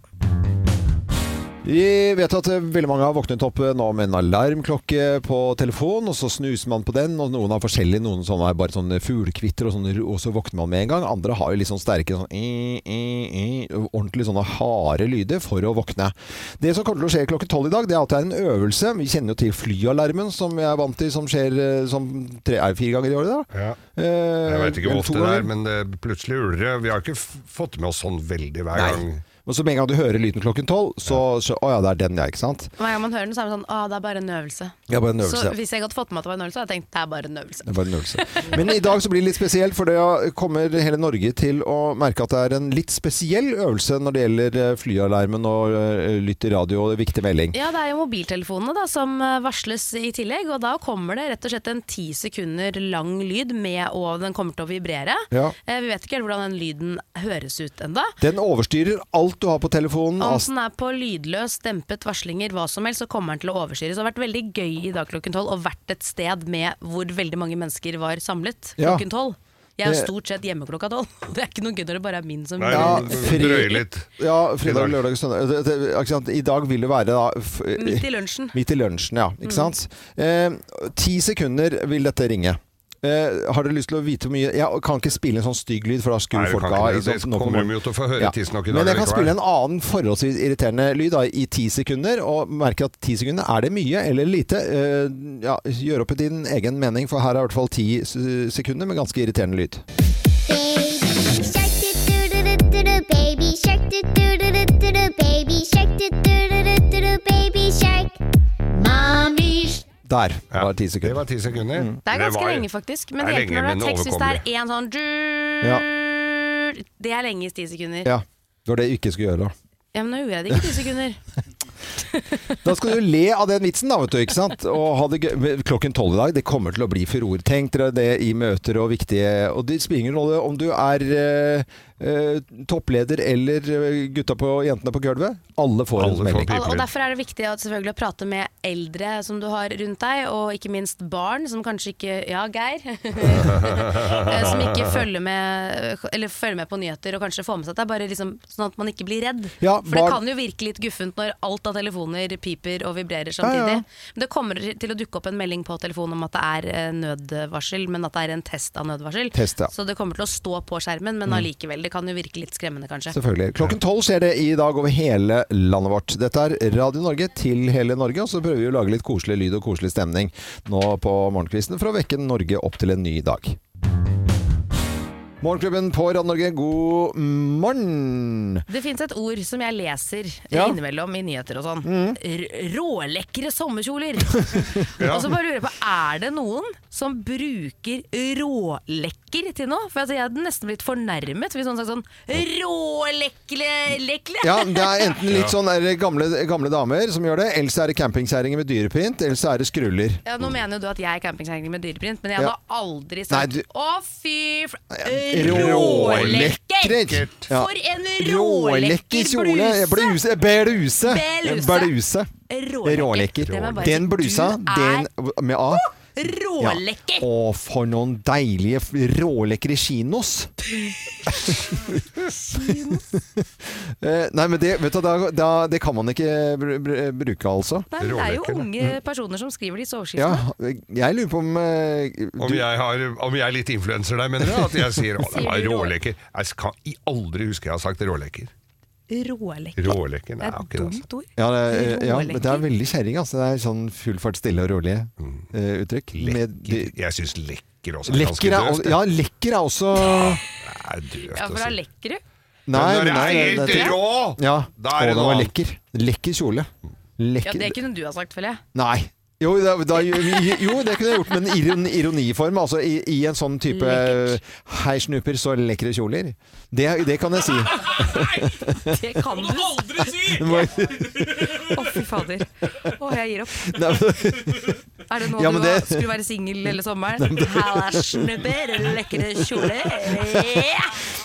Vi vet at eh, veldig mange har våknet opp eh, nå med en alarmklokke på telefon, og så snuser man på den, og noen har forskjellig, noen sånne er bare sånne fuglekvitter, og, sånne, ro- og så våkner man med en gang. Andre har jo litt sånn sterke, sånn, eh, eh, eh, ordentlig sånne harde lyder for å våkne. Det som kommer til å skje klokken tolv i dag, det er at det er en øvelse. Vi kjenner jo til flyalarmen, som jeg er vant til, som skjer eh, som tre, er det fire ganger i året. da.
Ja.
Eh,
Jeg veit ikke
eller
hvor
to
ofte det
ganger.
er, men det plutselig uler det. Vi har ikke f- fått med oss sånn veldig hver gang.
Nei. Og så med en gang du hører lyden klokken tolv, så, så Å ja, det er den, ja, ikke sant?
Hver gang man hører den, så er det sånn Å, det er bare en øvelse.
Ja, bare en øvelse.
Så hvis jeg hadde fått med meg at det var en øvelse, hadde jeg tenkt det er bare en øvelse.
Det var en øvelse. Men i dag så blir det litt spesielt, for det kommer hele Norge til å merke at det er en litt spesiell øvelse når det gjelder eh, flyalarmen og eh, lytt i radio og viktig melding.
Ja, det er jo mobiltelefonene da, som eh, varsles i tillegg, og da kommer det rett og slett en ti sekunder lang lyd med, og den kommer til å vibrere.
Ja.
Eh, Vi vet ikke helt hvordan den lyden høres ut enda.
Den overstyrer alt du har på telefonen.
Om
Ast-
den er på lydløs, dempet varslinger, hva som helst, så kommer den til å overstyre. Så det har vært veldig gøy i dag klokken tolv, og vært et sted med hvor veldig mange mennesker var samlet
Ja.
klokken tolv. Jeg er
Det-
stort sett hjemme klokka tolv. Det er ikke noe gøy når det bare er min som
Nei,
Ja,
det
fri-
drøyer litt.
Ja, fredag,
I dag.
lørdag, søndag. Det- det- ikke sant? I dag vil det være da, f
Midt i lunsjen. Mm.
midt i lunsjen, ja. Ikke sant? Eh, ti sekunder vil dette ringe. Eh, har dere lyst til å vite hvor mye Jeg kan ikke spille en sånn stygg lyd, for da skrur
Nei, du
folk
kan ikke
av.
det.
ikke sant,
Det
nå på
kommer de
morgenen.
jo til å få høre tidsnok i dag
Men jeg kan
likevel.
spille en annen forholdsvis irriterende lyd da, i ti sekunder, og merke at ti sekunder er det mye eller lite. Eh, ja, gjør opp i din egen mening, for her er i hvert fall ti s- sekunder med ganske irriterende lyd.
Baby shark doo doo doo doo doo baby shark doo doo doo doo doo doo baby shark doo doo doo doo doo doo baby shark mommy sh-
Der
Ja,
var ti
Det
sekunder.
var ti sekunder.
Mm.
Det er ganske
var-
lenge, faktisk. Men det
Det er
hjelper når
lenge,
det er
men
tekst hvis det er én sånn Det er lenge i ti sekunder. Ja.
Ja, det var det jeg ikke skulle gjøre. da.
men nå gjorde jeg det ikke i ti sekunder.
Da skal du le av den vitsen, da, vet du. ikke sant? Og ha det gøy. Men Klokken tolv i dag, det kommer til å bli furor. Tenk dere det i møter og viktige Og det spiller ingen rolle om du er eh, eh, toppleder eller eh, gutta på jentene på gulvet. Alle får
Alle
en
får
melding.
pip.
Alle, og Derfor er det viktig at selvfølgelig å prate med eldre som du har rundt deg, og ikke minst barn som kanskje ikke Ja, Geir. Eh, som ikke følger med, eller følger med på nyheter og kanskje får med seg at det er bare liksom, sånn at man ikke blir redd.
Ja,
For det
barn-
kan jo virke litt guffent når alt av telefoner piper og vibrerer
ja.
samtidig. Men det kommer til å dukke opp en melding på telefonen om at det er eh, nødvarsel, men at det er en test av nødvarsel.
Test, ja. Mm.
Så det kommer til å stå på skjermen, men allikevel. Det kan jo virke litt skremmende, kanskje.
Selvfølgelig. Klokken tolv skjer det i dag over hele landet vårt. Dette er Radio Norge til hele Norge, og så prøver vi å lage litt koselig lyd og koselig stemning nå på morgenkvisten for å vekke Norge opp til en ny dag. Morgenklubben på Radio Norge, god morgen!
Det fins et ord som jeg leser
Ja. Mm.
innimellom i nyheter og sånn. R- Rålekre sommerkjoler.
Ja.
Og så bare lurer jeg på, er det noen som bruker rålekker til noe? For altså, jeg hadde nesten blitt fornærmet hvis noen sa sånn rålekle lekle.
Ja, det er enten litt sånn er det gamle, gamle damer som gjør det, eller så er det campingkjerringer med dyreprint, eller så er det skruller.
Ja, nå mener jo du at jeg er campingkjerring med dyreprint, men jeg
Ja.
hadde aldri
Nei,
sagt
du-
å fy fl...
Rålekker!
Rålekker!
Ja.
For en
Rålekker
rålekker
kjole! Jeg
bluse!
bluse! Bluse!
Bluse.
Bluse.
Rålekker.
Rålekker.
Det må jeg bare
Den
si.
blusa,
Du
den med A.
er
Ja.
rålekker!
Å, for noen deilige f- rålekre kinos! Eh, Nei, men det, vet du, da, da, det kan man ikke br br bruke, altså.
Nei, men det er jo
Rålekker, da.
unge personer som skriver disse
Ja,
overskriftene.
jeg lurer på om eh,
Om
du,
jeg, har, om jeg er litt influenser der, mener du? At jeg sier å, det var
Sier du rå-
råleker. Jeg kan i- aldri huske jeg har sagt råleker.
Rålekker.
Råleker,
Det
nei, jeg
er
har
et
ikke det. altså.
dumt ord.
ja, det, er- ja, men det
Rålekker.
er veldig kjerring. Altså. Det er sånn full fart, stille og rolig eh, uttrykk. Med, de,
Mm. Lekker. Jeg syns lekker også er
lekker,
ganske
er,
døvt.
al- ja, lekker er også
Det er døvt
Ja,
å
for da
si.
lekker du.
Nei,
Men når det
nei,
er
nei,
helt
det-
rå,
Ja,
da
å,
er det
den
noe
var
annet.
lekker. Lekker kjole.
Ja,
Lekker,
Det kunne du ha sagt, føler jeg.
Nei. Jo, da, da, jo, det kunne jeg gjort, men iron, ironiform. Altså i, i en sånn type
Lekkert.
Hei, snupper, så lekre kjoler. Det, det kan jeg si.
Det kan du.
Det må-
Å, fy fader. Å, jeg gir opp.
Nei, men-
Er det nå
Ja,
du
men
var-
det-
skulle være singel hele sommeren? Halla, snubber, lekre kjoler.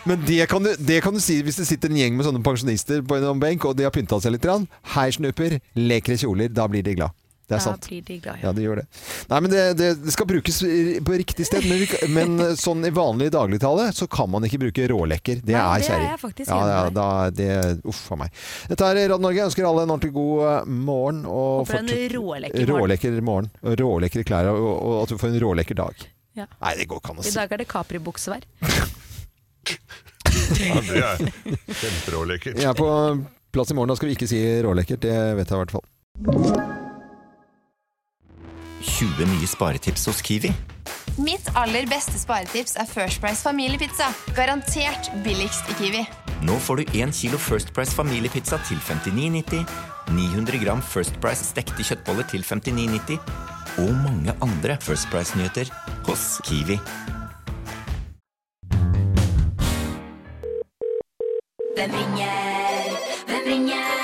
Men det kan, du, det kan du si hvis det sitter en gjeng med sånne pensjonister på en benk, og de har pynta seg litt. grann. Hei, snupper, lekre kjoler. Da blir de glad. Det er
Da
sant.
blir de glad, ja.
Ja, det gjør det. Nei, men det, det, det skal brukes på riktig sted, men, vi, kan- men sånn i vanlig dagligtale så kan man ikke bruke rålekker. Det
Nei,
er
det er
kjerring.
jeg faktisk
ja, ja,
enig med
da, det, Uff a meg. Dette er Radio Norge. Jeg ønsker alle en ordentlig god eh, morgen. Og
Håper det er en
fortsett-
rålekker morgen.
rålekker morgen. Og Rålekre klær, og, og at du får en rålekker dag.
Ja.
Nei, det går ikke an å
I
si.
dag er det Capri-buksevær.
Ja, det er kjemperåleker.
Jeg er på plass i morgen, da skal vi ikke si rålekker. Det vet jeg i hvert fall.
20 nye sparetips hos Kiwi.
Mitt aller beste sparetips er First Price familiepizza. Garantert billigst i Kiwi.
Nå får du 1 kilo First Price familiepizza til 59,90, 900 gram First Price stekte kjøttboller til 59,90 og mange andre First Price-nyheter hos Kiwi.
Hvem ringer? Hvem ringer?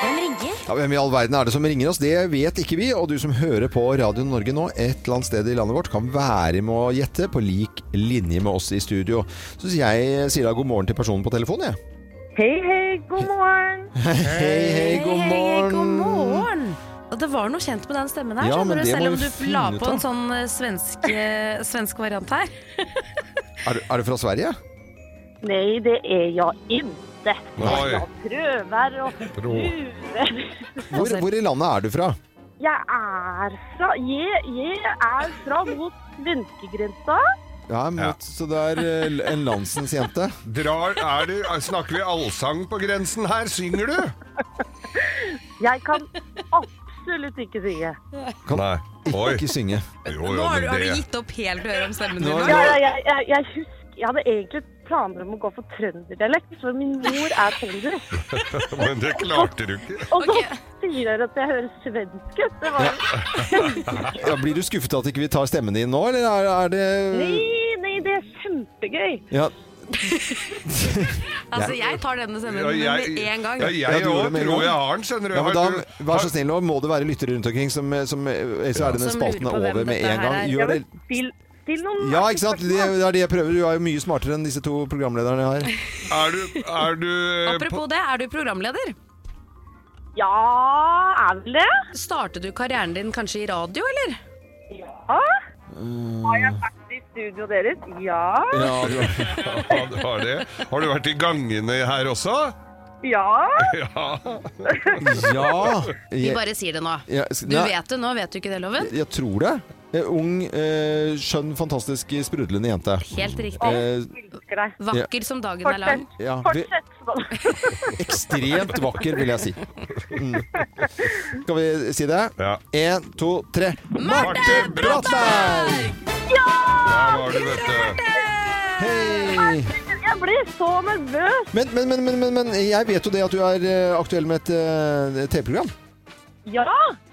Hvem ringer?
Ja, Hvem i all verden er det som ringer oss? Det vet ikke vi. Og du som hører på Radio Norge nå, et eller annet sted i landet vårt, kan være med å gjette på lik linje med oss i studio. Så sier jeg sier da god morgen til personen på telefonen, jeg.
Hei, hei, god morgen!
Hei, hei, god morgen.
God morgen! Og det var noe kjent med den stemmen her,
Ja, men
skjønner du, selv om
det må vi
du la
finne ut
på
av.
en sånn eh, svensk, eh, svensk variant her.
Er, du- er du fra Sverige?
Nej, det är jag inte. Men
Oj.
jag prövar och
Prov.
lurar.
Hvor, hvor i landet er du fra?
Jag är fra, jag, jag är från mot svenskegränsa.
Ja, mot,
Ja.
Så det er eh, en landsens jente.
Drar, er du, snakker vi allsang på grensen her? Synger du?
Jag kan absolut inte synge.
Nei. Oi.
Ikke synge.
Jo,
Nå
jo,
har
men
du, har du
det
gitt opp helt å høre om stemmen
Nå-
din?
Jag, jag, jag, jag, jag, husk- jag hade egentligen planer om att gå för trönderdialekt, för min mor är trönder.
Men det klarte du ikke.
Och då
Okej.
säger hon att jag hör svensk ut. Det var...
Ja, blir du skuffet at ikke vi tar stemmen din nå, eller er, er det
Nej, nej, det är kjempegøy.
ja,
Altså, jeg tar denne stemmen
Ja, jeg-
med en gang.
Ja,
Ja,
jeg
du gjorde det
òg
med en
tror
gang.
jeg har den, skjønner du.
Ja, men
Har
da,
du-
vær så snill nå, må det være lyttere rundt omkring, som, som, ellers er denne
Som lurer
spalten
på hvem
over med
dette
en
her
gang.
er.
Gjør det
Still, still noen
Ja, ikke sant? Det det er det jeg prøver. Du er jo mye smartere enn disse to programlederne her.
Er du, er du eh,
Apropos det, er du programleder?
Ja, er vel det?
Startet du karrieren din kanskje i radio, eller?
Ja. Har jeg vært i studioet deres? Ja.
Ja, du har, det. har du vært i gangene her også?
Ja.
Ja.
Ja!
Vi
Jeg,
bare sier det nå.
jeg,
Du
nei,
vet det nå, vet du ikke det, Loven?
jeg tror det. En ung, eh, skjønn, fantastisk sprudlende jente.
Helt riktig.
Eh,
Elsker deg.
Vakker som dagen er lang.
Fortsett.
ja, vi,
Fortsett sånn.
ekstremt vakker, vil jeg si. Mm. Skal vi si det?
Ja.
Én, to, tre.
Marte
Brattberg!
Der var du, vet du.
Hei!
Jeg blir så nervøs.
Men, men, men, men, men, men jeg vet jo det at du er eh, aktuell med et eh, TV-program.
Ja.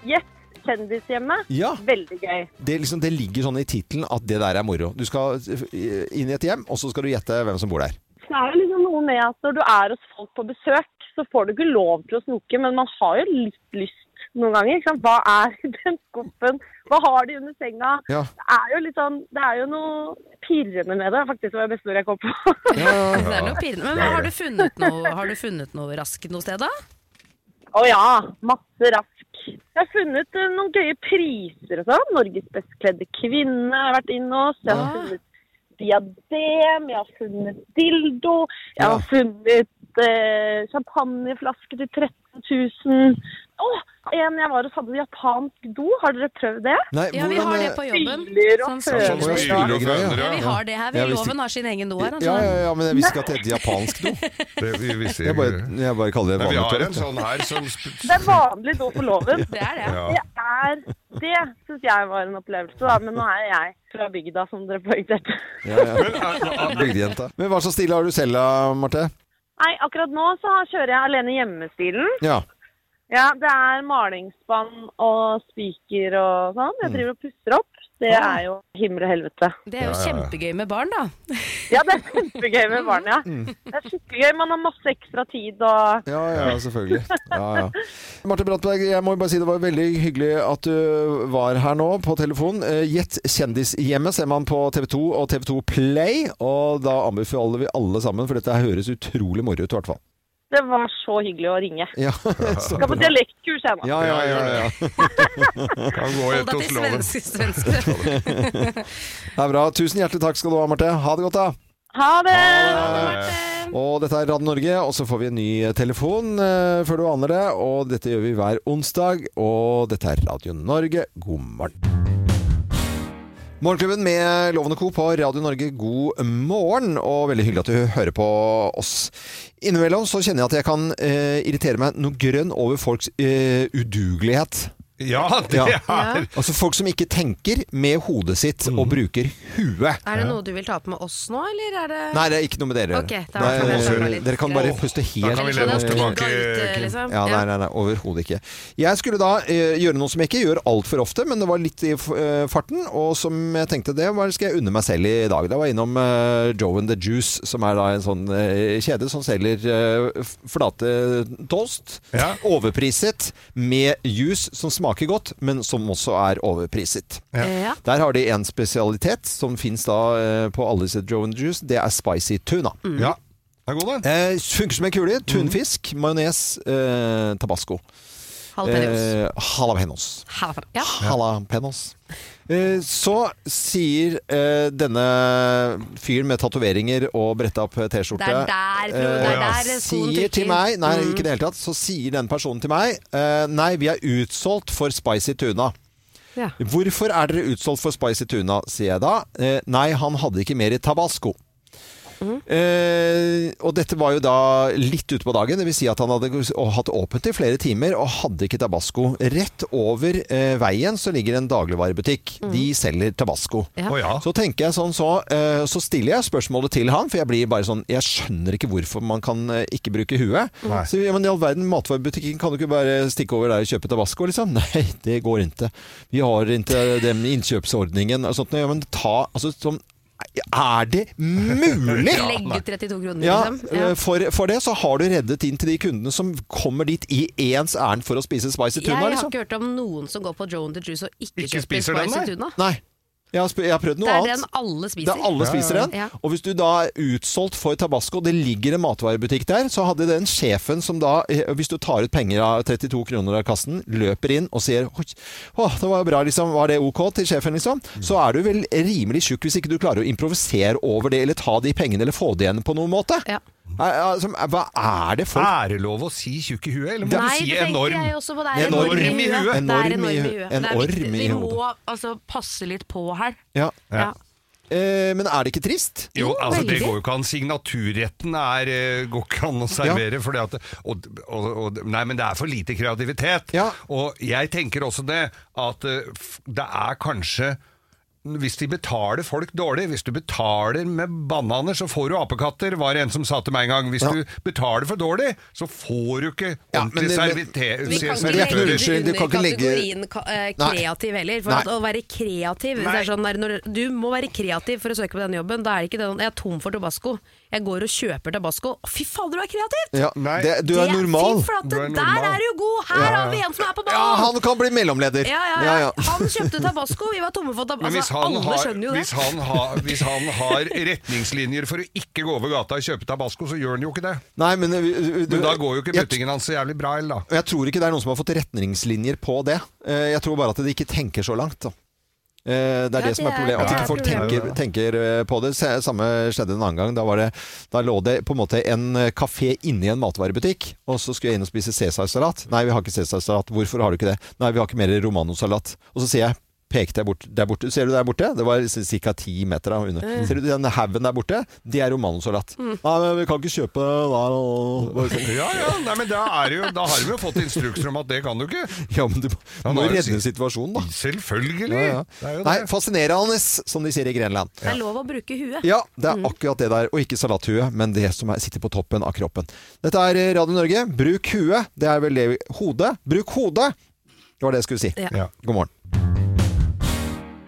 Yes. Kjendishjemmet.
Ja.
Veldig gøy.
Det, er liksom, det ligger sånn i tittelen at det der er moro. Du skal eh, inn i et hjem, og så skal du gjette hvem som bor der.
Så er det liksom noe med at når du er hos folk på besøk, så får du ikke lov til å snoke, men man har jo litt lyst noen ganger. Ikke sant? Hva er i den skuffen? Hva har de under senga?
Ja.
Det er jo litt sånn, det er jo noe pirrende med det. Faktisk var det beste ordet jeg kom på.
Det er noe pirrende. Men hva, har du funnet noe, har du funnet noe raskt noe sted, da?
Å ja, masse rask. Jeg har funnet eh, noen gøye priser og sånn. Norges best kledde kvinne har jeg vært inne hos. Jeg
Ah.
har funnet diadem, jeg har funnet dildo, jeg har funnet eh, champagneflaske til 13 000. Å, en jeg var hos hadde japansk do. Har dere prøvd det?
Nei, eh,
Ja, vi har det på jobben.
eh,
Fyller og
Sånn
føner.
Sånn
Spyler og
spylegreier, ja.
føner,
Ja, vi har det her. Vi
Jeg visste
loven har sin egen do her.
Ja,
Altså.
ja, ja, men jeg visste ikke at det het japansk do.
Det, vi, vi ser
Jeg bare, jeg bare kaller det
Nei, vi
vanlig
har
toalett.
en
ja.
sånn her som sp-
Det er vanlig do på låven.
Det er det.
ja.
Det er det, syns jeg var en opplevelse, da. Men nå er jeg fra bygda, som dere poengterte.
Ja, ja. Bygdejenta. Men hva slags stil har du selv, da, Marte?
Nei, akkurat nå så kjører jeg alene hjemmestilen.
Ja.
Ja, det er malingsspann og spiker og sånn.
Mm.
Jeg driver og pusser opp. Det er jo himmel og helvete.
Det er jo kjempegøy med barn, da.
Ja, det er kjempegøy med barn, ja.
Mm.
Det er skikkelig gøy. Man har masse ekstra tid og
Ja, ja, selvfølgelig. Ja, ja. Marte Brattberg, jeg må bare si det var veldig hyggelig at du var her nå på telefon. Eh, Gjett Kjendishjemmet ser man på TV 2 og TV 2 Play, og da anbefaler vi alle sammen, for dette her høres utrolig moro ut i hvert fall.
Det var så hyggelig å ringe.
Ja, så
Skal på
bra.
dialektkurs jeg nå.
ja, ja, ja, ja.
kan gå
Hold deg
etter hos
til
loven.
svenske, svenske.
Det er bra. Tusen hjertelig takk skal du ha, Marte. Ha det godt, da.
Ha det!
Og dette er Radio Norge, og så får vi en ny telefon eh, før du aner det. Og dette gjør vi hver onsdag, og dette er Radio Norge. God morgen. Morgenklubben med Lovende Co. på Radio Norge, god morgen, og veldig hyggelig at du hører på oss. Innimellom så kjenner jeg at jeg kan eh, irritere meg noe grønn over folks eh, udugelighet.
Ja, det
Ja.
er
Altså folk som ikke tenker med hodet sitt og bruker huet.
Er det noe du vil ta opp med oss nå, eller er det
Nei, det er ikke noe med dere.
Ok, da
Nei,
kan vi snakke
dere,
litt.
dere kan bare puste
Da
helt
kan vi
Så
lene
det
oss
er
tilbake.
spydet ut,
Kim.
liksom?
Ja, nei, nei, nei overhodet ikke. Jeg skulle da eh, gjøre noe som jeg ikke gjør altfor ofte, men det var litt i eh, farten. Og som jeg tenkte, det var, skal jeg unne meg selv i dag. Da var jeg innom eh, Joe and the Juice, som er da en sånn eh, kjede som selger eh, f- flate toast.
Ja.
Overpriset med juice som smaker godt, men som også er overpriset.
Ja.
Der har de en spesialitet som fins da eh, på alle disse Joe and the Juice. Det er spicy tuna.
Mm.
Ja. Det er god, den.
Eh, funker som en kule. Tunfisk, majones, eh, tabasco.
Jalapenos.
Eh, jalapenos.
Ja.
Jalapenos. Eh, så sier eh, denne fyren med tatoveringer og bretta opp T-skjorte Eh,
Det er der, Frode, det er der skoen
Sier til
trykker. Mm.
meg Nei, ikke i det hele tatt. Så sier den personen til meg eh, Nei, vi er utsolgt for spicy tuna.
Ja.
Hvorfor er dere utsolgt for spicy tuna, sier jeg da. Eh, nei, han hadde ikke mer i tabasco.
Mm.
Eh, og dette var jo da litt ute på dagen, dvs. Si at han hadde g- og hatt åpent i flere timer og hadde ikke tabasco. Rett over eh, veien så ligger en dagligvarebutikk.
Mm.
De selger tabasco.
Å ja.
Så tenker jeg sånn, så, eh, så stiller jeg spørsmålet til han, for jeg blir bare sånn Jeg skjønner ikke hvorfor man kan eh, ikke bruke huet.
Nei.
Så ja, men i all verden, matvarebutikken kan du ikke bare stikke over der og kjøpe tabasco, liksom? Nei, det går ikke. Vi har ikke den innkjøpsordningen og sånt. Ja, men ta Altså sånn Er det mulig?!
Legge ut 32 kroner,
Ja,
liksom. Ja.
eh, for, for det så har du reddet inn til de kundene som kommer dit i ens ærend for å spise spicy
Jeg
tuna,
har
liksom.
ikke hørt om noen som går på Joe and the Juice og ikke,
Ikke
kjøper
spiser den,
spicy
nei.
tuna.
Nei. Jeg har, sp- jeg har prøvd
Det
noe
er
annet.
den alle
Det
spiser.
er alle spiser den.
Ja.
Og hvis du da er utsolgt for tabasco, det ligger en matvarebutikk der, så hadde den sjefen som da, eh, hvis du tar ut penger av 32 kroner av kassen, løper inn og sier «Oi, Åh, det var bra, liksom. Var det ok til sjefen, liksom? Så er du vel rimelig tjukk hvis ikke du klarer å improvisere over det, eller ta de pengene, eller få det igjen på noen måte.
Ja.
Eh, altså, Hva er det folk
Er det lov å si tjukk i huet, eller må
Nei,
du si
det tenker
enorm?
jeg også på. Det er
Enorm
enorm, i
i huet.
huet. Det er enorm
Enorm i
i
huet.
huet. Det er
Enorm
viktig.
i
Vi må altså passe litt på her.
ja.
Ja.
Ja.
eh, Men er det ikke trist?
Jo, altså Det
veldig.
går jo ikke an. Signaturretten er, eh, går ikke an å servere. Fordi at, og, og, og, nei, men det er for lite kreativitet.
Ja.
Og jeg tenker også det, at eh, f- det er kanskje hvis de betaler folk dårlig, hvis du betaler med bananer, så får du apekatter, var det en som sa til meg en gang. Hvis
Ja.
du betaler for dårlig, så får du ikke
Ja, men
ordentlig
det- men-
servite-
Vi kan ikke
se-
legge
servitører.
det unnskyld, du kan ikke legge-
kategorien ka- eh,
Nei.
kreativ heller. For
Nei.
at å være kreativ det
Nei.
er sånn der, når, Du må være kreativ for å søke på denne jobben. Da er det ikke det sånn 'jeg er tom for tabasco', jeg går og kjøper tabasco. Å, Fy fader, du er kreativ!
Ja,
Nei.
det, du er
Det-
normal.
Fy flate,
Du er normal.
der er du god! Her har vi en som er på
Ja,
ballen!
han kan bli mellomleder.
Ja, ja, ja. Han kjøpte tabasco, vi var tomme for altså, tabasco.
Men hvis
altså,
han
Alle
har,
skjønner jo det.
hvis han, har, hvis han har retningslinjer for å ikke gå over gata og kjøpe tabasco, så gjør han jo ikke det.
Nei, men, eh, vi- du-
Men da går jo ikke
jeg-
buttingen hans så jævlig bra, eller da?
Og jeg tror ikke det er noen som har fått retningslinjer på det. Eh, Jeg tror bare at de ikke tenker så langt. Da. Eh, Det er det som er problemet. At
det
ikke
er
folk
problemet.
tenker, tenker eh, på det. Se- Samme skjedde en annen gang. Da, var det, da lå det på en måte en eh, kafé inni en matvarebutikk, og så skulle jeg inn og spise cæsarsalat. Nei, vi har ikke cæsarsalat. Hvorfor har du ikke det? Nei, vi har ikke mer romanosalat. Og så sier jeg pekte jeg bort der borte. Ser du der borte? Det var ca. ti meter da, under.
Mm.
Ser du den haugen der borte? Det er romanosalat.
Mm.
Nei, men vi kan ikke kjøpe det der og bare sånn.
Ja, ja, nei, men da, er det jo, da har de jo fått instrukser om at det kan du ikke.
Ja, men du
Han
må
har
jo
jo
redde
sitt-
situasjonen, da.
Selvfølgelig!
Ja, ja.
Det er jo
Nei,
det.
fascinerende, som de sier i Grenland.
Det er lov å bruke huet.
Ja, det
Mm.
er akkurat det der. Og ikke salathue, men det som er, sitter på toppen av kroppen. Dette er eh, Radio Norge. Bruk huet. Det er vel det vi Hodet. Bruk hodet! Det var det jeg skulle si.
Ja.
Ja.
God morgen.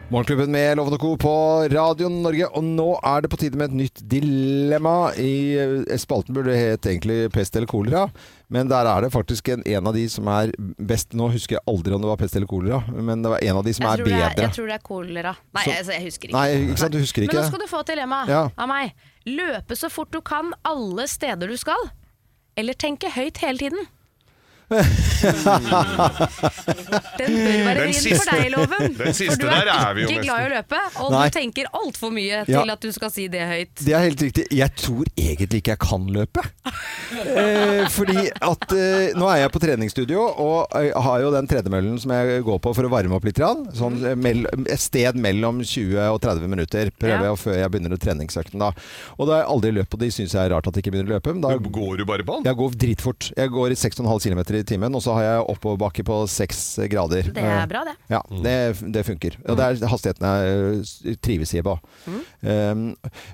Morgenklubben med Lovende Co. på Radio Norge. Og nå er det på tide med et nytt dilemma. I eh, spalten burde det het egentlig pest eller kolera. Men der er det faktisk en, en av de som er best Nå husker jeg aldri om det var pest eller kolera, men det var en av de som
Jeg
er
tror, det
bedre.
er, jeg tror det er kolera. Nei,
Så-
altså, jeg husker ikke.
Nei, ikke sant? Du husker ikke.
Men nå skal du få et dilemma
Ja.
av meg. Løpe så fort du kan alle steder du skal. Eller tenke høyt hele tiden. Den bør være
Den
vrien
siste-
for deg, Loven.
den siste
for du er,
der er vi jo
ikke
nesten.
glad i å løpe, og
Nei.
du tenker altfor mye
Ja.
til at du skal si det høyt.
Det er helt riktig. Jeg tror egentlig ikke jeg kan løpe. Eh, fordi at eh, nå er jeg på treningsstudio og eh, har jo den tredemøllen som jeg går på for å varme opp litt. grann, Sånn,
Mm.
eh, mell- et sted mellom 20 og 30 minutter prøver
Ja.
jeg før jeg begynner treningsøkten. Da. Og da har jeg aldri løpt, og de syns jeg er rart at jeg ikke begynner å løpe. Men da
Du går jo bare på den.
jeg går dritfort. Jeg går i 6,5 km i timen, og så har jeg oppoverbakke på 6 grader.
Det er bra, det.
Ja, det, det funker. Og det er hastigheten jeg eh, trives i på. Um,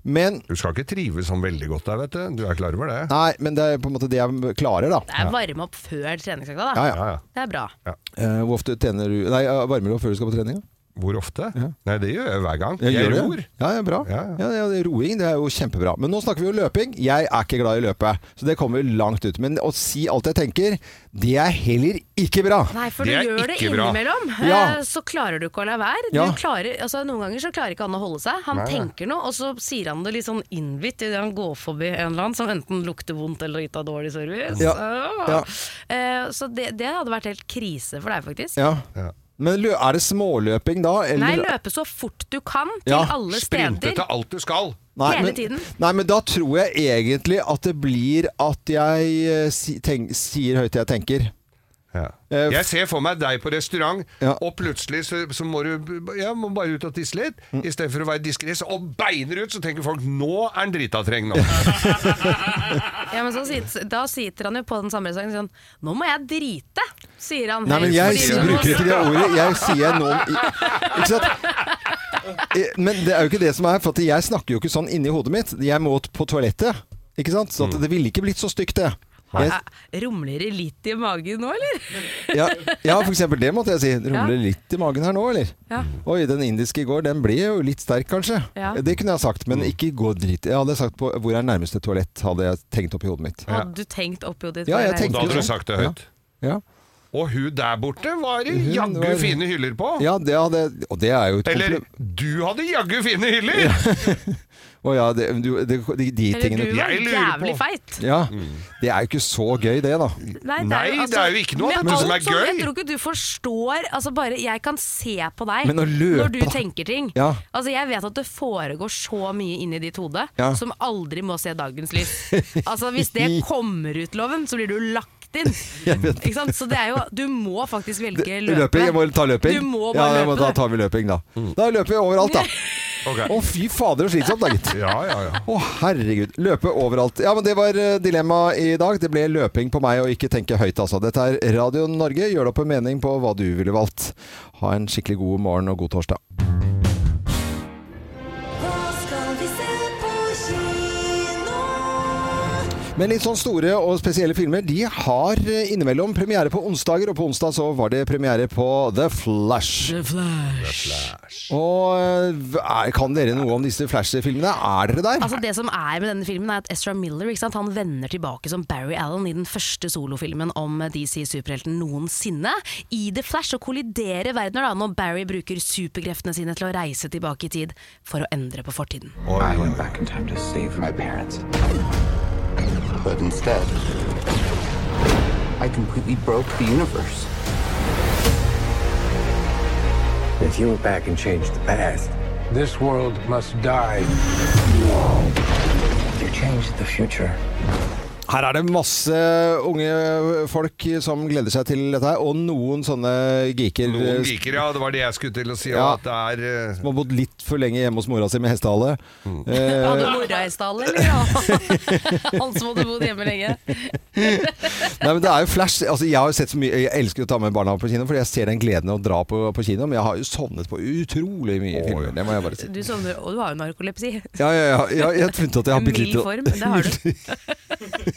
men
Du skal ikke trives sånn veldig godt der, vet du. Du er klar over det?
Nei, men det er på en måte det jeg klarer, da.
Det er varme opp før treningsøkta, da.
Ja, ja.
Ja, ja.
Det er bra.
Eh, hvor ofte trener du Nei, eh, varmer du opp før du skal på trening? da?
Hvor ofte? Nei, det gjør jeg hver gang.
Jeg
Jeg,
gjør det.
ror.
Ja, ja, bra. Ja,
Ja,
ja, det- roing det er jo kjempebra. Men nå snakker vi jo løping. Jeg er ikke glad i å løpe, så det kommer vi langt ut. Men å si alt jeg tenker, det er heller ikke bra.
Nei, for du
Det er
gjør det
ikke bra.
innimellom.
Ja.
eh, Så klarer du ikke å la være. Du
Ja.
klarer, altså, noen ganger så klarer ikke han å holde seg. Han
Nei, nei.
tenker noe, og så sier han det litt sånn innbitt idet han går forbi en eller annen som enten lukter vondt eller gitt av dårlig service.
Ja.
Ah.
Ja.
Eh, Så det, det hadde vært helt krise for deg, faktisk.
Ja.
Ja.
Men lø er det småløping da? Eller?
Nei, løpe så fort du kan til
Ja,
alle
Sprinte
steder.
til alt du skal.
Nei,
Hele
men,
tiden.
Nei, men da tror jeg egentlig at det blir at jeg eh, si, tenk, sier høyt det jeg tenker.
Ja.
Eh,
Jeg ser for meg deg på restaurant,
Ja.
og plutselig så, så må du ja, må bare ut og tisse litt. I stedet for å være diskré og beiner ut, så tenker folk 'nå er han dritatreng'. nå.
Ja, men så sitter, da sitter han jo på den samme restauranten sånn Nå må jeg drite, sier han.
Nei, men jeg
Fordi
sier,
nå må-
bruker ikke det ordet. Jeg sier noen Ikke sant? Eh, Men det er jo ikke det som er, for at jeg snakker jo ikke sånn inni hodet mitt. Jeg må på toalettet, ikke sant? Så at det ville ikke blitt så stygt, det. Jeg,
Eh, Rumler det litt i magen nå, eller?
ja, ja, for eksempel det måtte jeg si. Det rumler litt i magen her nå, eller?
Ja.
Oi, den indiske i går, den ble jo litt sterk, kanskje.
Ja.
Det kunne jeg sagt, men ikke gå drit. Jeg hadde sagt på hvor er nærmeste toalett, hadde jeg tenkt opp i hodet mitt.
Hadde du tenkt oppi hodet ditt?
Ja,
hva
jeg
er
Da
tenkte
hadde
jo
du
sånn.
sagt det høyt.
Ja,
Og hun der borte var det
Hun
jaggu
var-
fine hyller på.
ja det hadde Og det er jo et
Eller
kompliment.
du hadde jaggu fine hyller!
Å ja, det, du, det, de, de
Eller
tingene
du var
Jeg lurer
jævlig
på.
feit.
Ja, det er jo ikke så gøy det da
Nei, altså
Nei, det er jo ikke noe av
med
dette som
alt
er gøy.
sånn, Jeg tror ikke du forstår altså bare, Jeg kan se på deg
Men å løpe,
når du
da.
tenker ting.
Ja.
Altså, jeg vet at det foregår så mye inni ditt hode
Ja.
som aldri må se dagens lys. Altså, hvis det kommer ut, Loven, så blir du lagt inn. Ikke sant? Så det er jo Du må faktisk velge løpe.
Løping, jeg må ta løping
Du må
ja,
bare
jeg må,
løpe,
Da
du.
tar vi løping da Da løper vi overalt da
Ok.
Å fy fader og slitsomt da gitt
Ja, ja, ja.
Å herregud, løpe overalt Ja, men det var eh, dilemma i dag Det ble løping på meg og ikke tenke høyt altså Dette er Radio Norge, gjør deg opp en mening på hva du ville valgt Ha en skikkelig god morgen og god torsdag Men litt sånn store og spesielle filmer, de har eh, innimellom premiere på onsdager, og på onsdag så var det premiere på The Flash.
The Flash.
Og eh, er, kan dere noe om disse Flash-filmene? Er dere der?
Altså Det som er med denne filmen, er at Ezra Miller ikke sant? Han vender tilbake som Barry Allen i den første solofilmen om DC-superhelten noensinne. I The Flash og kolliderer verdener da, når Barry bruker superkreftene sine til å reise tilbake i tid for å endre på fortiden.
Oi, oi.
back in time to save my parents. But instead, I completely broke the universe. If you went back and changed the past, this world must die. You changed the future.
Her er det masse unge folk som gleder seg til dette, her, og noen sånne geeker.
Noen
eh,
geeker, ja. Det var det jeg skulle til å si.
Ja.
At det er eh,
Som har bodd litt for lenge hjemme hos mora si med hestehale.
Mm.
Hadde mora i stallen, eller? Ja. Han som hadde bodd hjemme lenge.
Nei, men det er jo flash. Altså, jeg har jo sett så mye Jeg elsker å ta med barna på kino, fordi jeg ser den gleden av å dra på, på kino. Men jeg har jo sovnet på utrolig mye
Å,
filmer.
ja.
Det må jeg bare si.
Du sovner, og du har jo narkolepsi.
Ja, ja, ja. ja jeg har funnet at jeg har bitte
Mild
litt
form, det har du.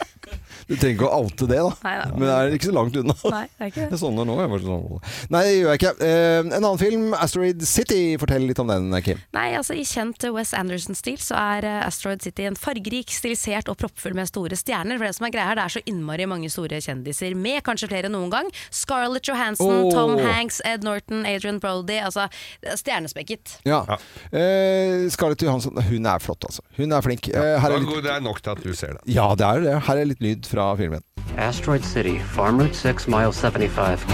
Du trenger ikke å oute det, da.
Nei, da.
Men det er ikke så langt unna.
Nei, det er ikke det.
Jeg sovner nå. Jeg bare sånn. Nei, det gjør jeg ikke. Eh, en annen film, 'Asteroid City'. Fortell litt om den, Kim.
Nei, altså I kjent Wes Anderson-stil så er eh, Asteroid City en fargerik, stilisert og proppfull med store stjerner. For Det som er greia her, det er så innmari mange store kjendiser med, kanskje flere enn noen gang. Scarlett Johansson,
Åh.
Tom Hanks, Ed Norton, Adrian Brody. Altså, det er stjernespekket.
Ja. Eh, Scarlett Johansson, hun er flott, altså. Hun er flink. Eh, her
det
er
er
litt,
god- det er nok til at du ser det.
ja, det er jo det. Her er litt lyd fra filmen.
Asteroid City, Farm Route 6, Mile 75.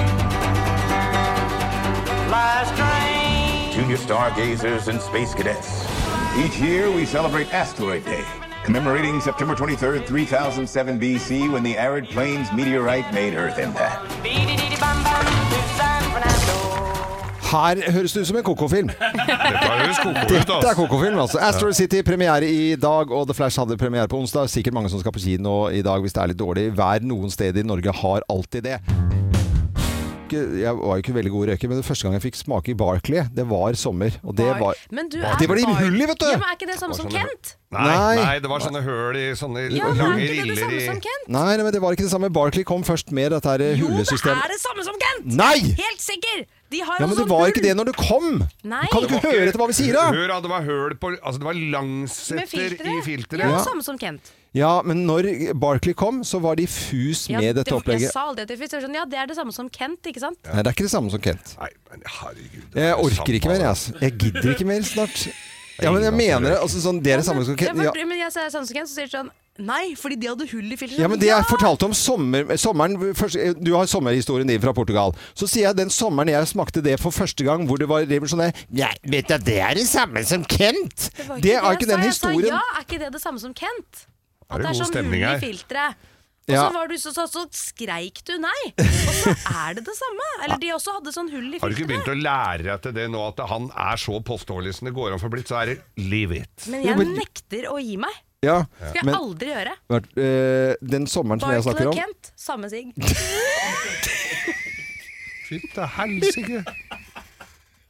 Junior stargazers and space cadets. Each year we celebrate Asteroid Day, commemorating September 23rd, 3007 BC, when the arid plains meteorite made Earth impact.
Her høres det ut som en kokofilm.
Dette høres koko ut,
Det er
altså.
kokofilm, altså. Asteroid City premiere i dag, og The Flash hadde premiere på onsdag. Sikkert mange som skal på kino i dag hvis det er litt dårlig vær. Noen steder i Norge har alltid det. Ikke- Jeg var jo ikke veldig god røyker, men det første gang jeg fikk smake i Barclay, det var sommer. Og det var
Men du
Ja,
er
det var de
bar-
hull i, vet du!
Ja, men Er ikke det samme som
sånn-
Kent?
Nei,
Nei.
nei, det var sånne høl i sånne
Ja, men er
lange
ikke det det
riller
samme
i
som Kent?
Nei, nei, men det var ikke det samme. Barclay kom først med dette her
Jo, det
hullesystemet.
er det samme som Kent!
Nei!
Helt sikker! De har
Ja, men
en
det
sånn
var
hull.
ikke det når du kom!
Nei.
Kan du ikke høre etter hva vi sier, da?
Hør, ja, det var høl på Altså, det var
Med
langsetter
filteret.
i
Ja,
filteret.
Ja.
samme som Kent.
Ja, men når Barclay kom, så var de fus med
det-
dette
Jeg
opplegget.
sa aldri at det, jeg var sånn, ja, det er det samme som Kent, ikke sant?
Nei, det er ikke det samme som Kent.
Nei, men herregud. det
Jeg
er
orker ikke mer, jeg.
samme-
Altså. Jeg gidder ikke mer snart. Ja, men jeg mener det. Altså, sånn, det er det samme som
Ja,
Kent.
men-
Ja.
Men jeg ser samme som Kent, så sier de sånn Nei, fordi de hadde hull i filteret.
Ja, men Det jeg fortalte om sommer, sommeren først, Du har sommerhistorien din fra Portugal. Så sier jeg den sommeren jeg smakte det for første gang, hvor det var revolusjonær Nei, vet du, det er det samme som Kent!
var
Det er
jeg
ikke
sa.
den
Jeg
historien.
sa, ja, er ikke det det samme som Kent?
Er
At
det
det er
god
sånn
stemning
hull i
her?
filteret. Og
Ja.
så, var du, så, så, så skreik du nei. Og så er det det samme. Eller de også hadde sånn hull i
Har du ikke
filteret.
begynt å lære deg til det nå, at han er så påståelig som det går an for blitt, så er det leave it.
Men
Jo,
jeg
men-
nekter å gi meg.
Ja,
Skal jeg
men
aldri gjøre.
eh, den sommeren som jeg
Barclay
snakker
og
om
Kent, samme sigg.
Fytte helsike.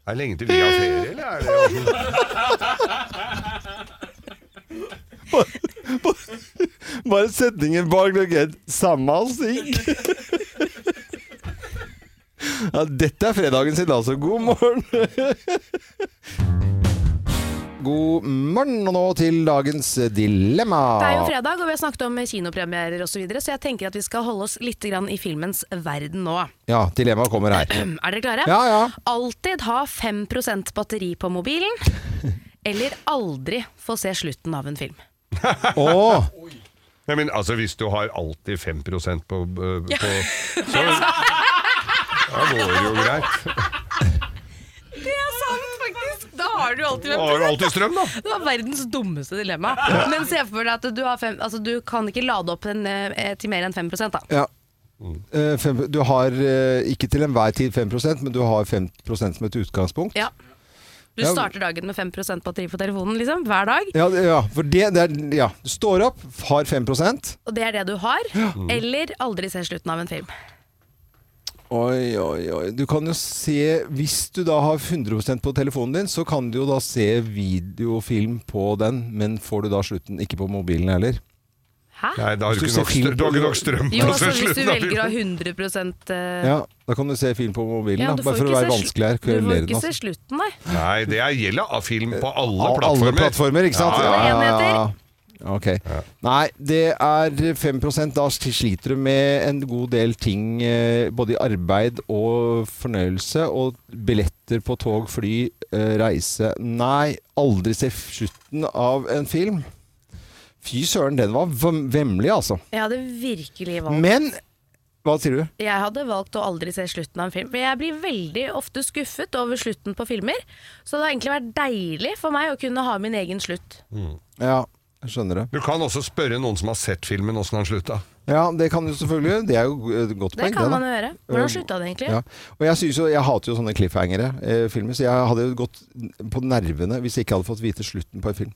Er det lenge til vi har ferie, eller er det
Bare setningen Barclay og Kent, samme sing! Ja, dette er fredagen sin, altså. God morgen! God morgen, og nå til dagens dilemma.
Det er jo fredag, og vi har snakket om kinopremierer osv., så, videre, så jeg tenker at vi skal holde oss litt grann i filmens verden nå.
Ja, dilemmaet kommer her.
Er dere klare?
Ja, ja.
Alltid ha 5 batteri på mobilen, eller aldri få se slutten av en film.
Åh,
Nei, men altså, hvis du har alltid 5 på, øh, på Så Da går det jo greit.
Det er sant, faktisk! Da har du alltid
Da har du alltid strøm, da.
Det var verdens dummeste dilemma. Men se for deg at du, har fem, altså, du kan ikke lade opp en, eh, til mer enn 5 da.
ja. Eh, fem, du har eh, ikke til enhver tid 5 men du har 5 som et utgangspunkt.
Ja. Du
Ja.
starter dagen med 5 batteri på telefonen liksom, hver dag,
Ja, det- ja for det, det er ja. Du står opp, har 5
og det er det du har. Eller aldri se slutten av en film.
Oi, oi, oi. Du kan jo se Hvis du da har 100 på telefonen din, så kan du jo da se videofilm på den, men får du da slutten ikke på mobilen heller?
Hæ?
Nei, da har du
Hvis
ikke
du
nok
ser film
strøm,
på-
du har ikke nok strøm.
Jo,
på,
altså,
så
hvis
Hvis du
slutten av
velger å ha
filmen.
100 eh,
Ja, da kan du se film på mobilen,
ja,
da,
du
bare
får
for å
ikke
være
se slu-
vanskeligere.
Du får
kvelerende,
ikke se
altså.
slutten, nei.
Nei, det er- gjelder av film på alle
Alle
plattformer.
plattformer, ikke sant?
Ja, ja, ja.
Ok. Nei, det er 5 Da sliter du med en god del ting, eh, både i arbeid og fornøyelse. Og billetter på tog, fly, eh, reise Nei, aldri se slutten av en film. Fy søren, den var vem- vemmelig, altså.
Jeg hadde virkelig valgt
Men Hva sier du?
Jeg hadde valgt å aldri se slutten av en film. Men jeg blir veldig ofte skuffet over slutten på filmer. Så det har egentlig vært deilig for meg å kunne ha min egen slutt.
Ja, jeg skjønner det.
Du kan også spørre noen som har sett filmen, åssen den slutta.
Ja, det kan du selvfølgelig. Det er jo et godt
Det
poeng.
kan
da. Eh,
man jo gjøre. Hvordan slutta det egentlig?
Ja. Og jeg, synes jo, jeg hater jo sånne cliffhangere, eh, filmer, så jeg hadde jo gått på nervene hvis jeg ikke hadde fått vite slutten på en film.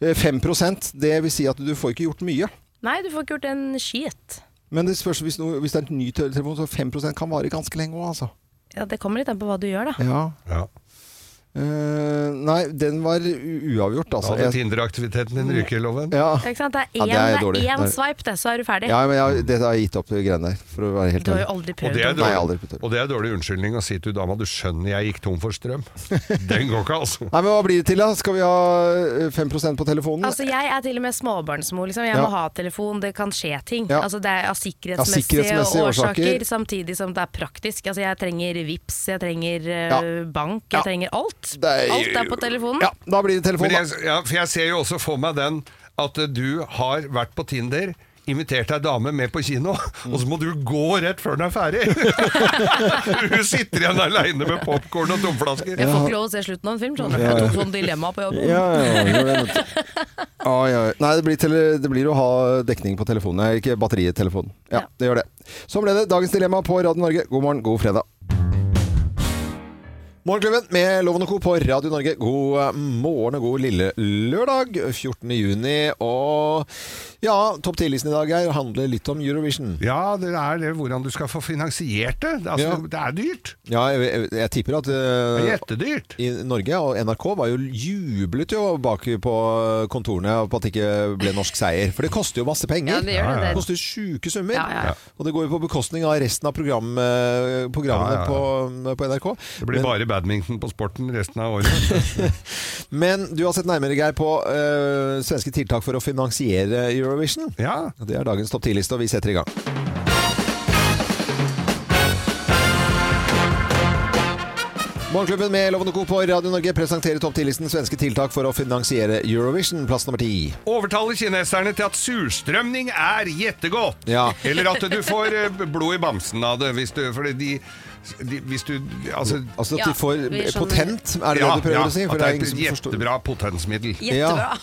Eh, 5 det vil si at du får ikke gjort mye.
Nei, du får ikke gjort en shit.
Men det spørs, hvis, noe, hvis det er en ny telefon, så 5 kan vare ganske lenge òg, altså.
Ja, Det kommer litt an på hva du gjør, da.
Ja.
Ja.
Eh, nei, den var u- uavgjort,
Da
altså.
hadde
Jeg-
Tinder-aktiviteten din ryket i loven.
ja.
Ikke sant? Det
Ja,
er
det
én,
er
det
dårlig.
er
Det
én
er-
swipe, det, så er du ferdig.
ja, men jeg, det har jeg gitt opp, de greiene der, for å være helt
Du har
ærlig.
jo aldri
Og
prøvd
det
Nei,
er
jeg har
dårlig,
aldri prøvd.
og det er dårlig unnskyldning å si til dama du skjønner jeg gikk tom for strøm. Den går ikke, altså.
Nei, men Hva blir det til, da? Skal vi ha eh, 5 på telefonen?
Altså, Jeg er til og med småbarnsmor. Liksom. Jeg
Ja.
må ha telefon, det kan skje ting.
Ja.
Altså, det er av sikkerhetsmessige,
Av sikkerhetsmessige
årsaker,
årsaker.
samtidig som det er praktisk. Altså, Jeg trenger VIPs, jeg trenger eh,
Ja.
bank, jeg
Ja.
trenger alt.
Det er-
Alt er på telefonen.
Ja, da blir det telefon,
Men
da.
jeg, ja, for jeg ser jo også for meg den at eh, du har vært på Tinder, invitert ei dame med på kino, og så må du gå rett før den er ferdig! Hun sitter igjen aleine med popkorn og tomflasker.
Jeg får ikke lov å se slutten av en film. Sånn.
Ja.
Jeg tok sånn dilemma på jobb.
Ja, ja, ja, det vet du. Ah, Ja, ja, ja. Nei, det blir, tele, det blir å ha dekning på telefonen, Nei, ikke batteriet i telefonen. Ja,
Ja.
det gjør det. Sånn ble det. Dagens dilemma på Radio Norge. God morgen, god fredag. Morgenklubben med Loven og Co. på Radio Norge. God eh, morgen og god lille lørdag 14. juni. Og ja, topp 10-listen i dag her handler litt om Eurovision.
Ja, det er det hvordan du skal få finansiert det. Det er, altså,
Ja.
det er dyrt.
Ja, jeg, jeg, jeg tipper at eh,
Det er Jettedyrt.
i Norge, og NRK var jo jublet jo bak på kontorene på at det ikke ble norsk seier. For det koster jo masse penger.
Ja, det gjør det.
Det
Det-
koster sjuke summer.
Ja, ja, ja.
Og det går jo på bekostning av resten av program, eh, programmene
Ja, ja,
På, på NRK.
Det
Men-
blir bare badminton på sporten resten av året.
Men du har sett nærmere, Geir, på eh, svenske tiltak for å finansiere Eurovision.
Ja.
Det er dagens topp 10-liste, og vi setter i gang. Morgenklubben med Lovende Co på Radio Norge presenterer topp 10-listen svenske tiltak for å finansiere Eurovision, plass nummer 10.
Overtale kineserne til at surstrømning er jettegodt.
Ja.
Eller at du får eh, blod i bamsen av det, hvis du Fordi de, de Hvis du Altså
Altså at
Ja,
de får
vi skjønner.
potent, er det
ja,
det du prøver
ja,
å si? For
at
det er
det
ingen
er
som
et
forstår-
jettebra potensmiddel.
Ja.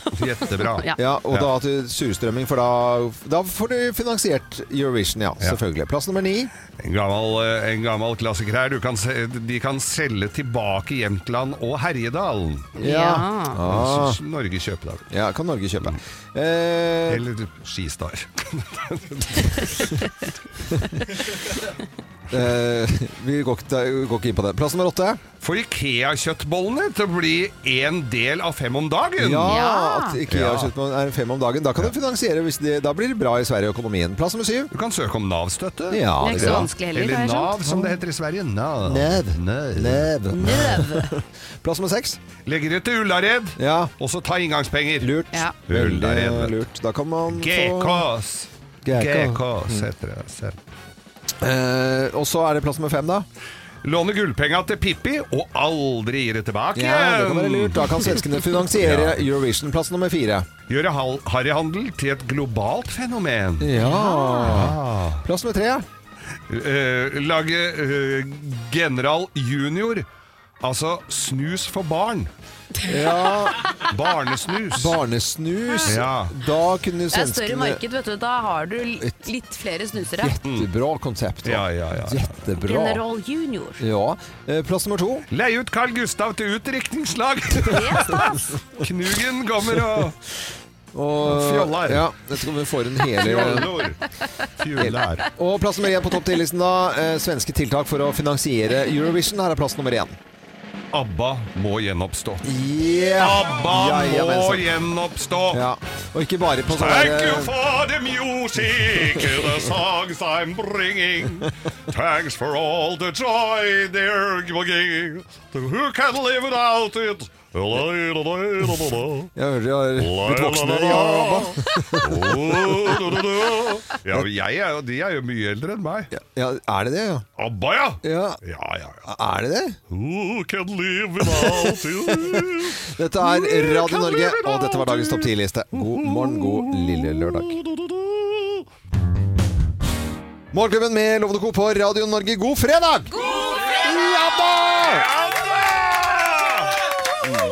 Jettebra.
Jettebra.
Ja.
Ja, og da at du- surstrømming, for da, da får du finansiert Eurovision, ja,
Ja.
selvfølgelig. Plass nummer ni.
En gammel, eh, en gammel klassiker her. Du kan se, de kan selge tilbake Jämtland og Herjedalen.
Ja.
Ah.
S- Norge kjøper det.
Ja, kan Norge kjøpe. Eh,
Eller Skistar.
eh, vi går ikke, går ikke inn på det. Plass nummer åtte.
Får Ikea-kjøttbollene til å bli en del av fem om dagen.
Ja,
Ja.
at IKEA har kjøpt på- er fem om dagen. Da kan du finansiere hvis det, Da blir det bra i Sverige økonomien. Plass nummer syv.
Du kan søke om Nav-støtte.
Ja,
Det er ikke så vanskelig heller,
Eller
har jeg skjønt.
Nav, som det heter i Sverige. Nav.
Nev.
Nav.
Nev.
Nøv.
Plass nummer seks.
Legger ut til Ullared,
Ja,
og så ta inngangspenger.
lurt.
Ja.
Veldig
Ullared.
lurt. Da kan man få
GKs.
GK.
GKs heter det. selv.
Eh, og så er det plass nummer fem, da.
Låne gullpenga til Pippi, og aldri gi det tilbake.
Ja, det kan være lurt. Da kan svenskene finansiere Eurovision. Plass nummer fire.
Gjøre hal- harryhandel til et globalt fenomen.
Ja. Plass nummer tre.
Eh, lage eh, General Junior, altså snus for barn.
Ja,
Barnesnus.
barnesnus.
Ja.
Da kunne
Det er større
svenskene
marked, vet du. Da har du li- litt flere snusere.
Jättebra konsept. da.
Mm. Ja, ja, ja, ja.
Jättebra.
General Junior.
Ja. Eh, Plass nummer to.
Leie ut Carl Gustav til utdrikningslag! Knugen kommer og
Og,
Fjollar.
Ja, dette kommer vi få en hele
Fjollor. Fjollar.
Og plass nummer én på topp 10-listen, da. Eh, svenske tiltak for å finansiere Eurovision. Her er plass nummer én.
ABBA må gjenoppstå.
Yeah.
ABBA
Ja, ja, men
må
sant.
gjenoppstå!
Ja. Og ikke bare på sånn
Thank
der-
you for the music, the songs I'm bringing. Thanks for all the joy they're giving. Who can live without it?
Jeg hører de har blitt voksne i ABBA.
Ja, men jeg er, jo- de er jo mye eldre enn meg.
Ja, er det det, ja?
ABBA, ja!
Ja.
ja, ja, ja.
Er det det?
Who can live without you?
Dette er Radio Norge, og dette var dagens topp 10-liste. God morgen, god lille lørdag. Morgenklubben med Lovende Co. på Radio Norge, god fredag! God fredag! Ja da! Mm.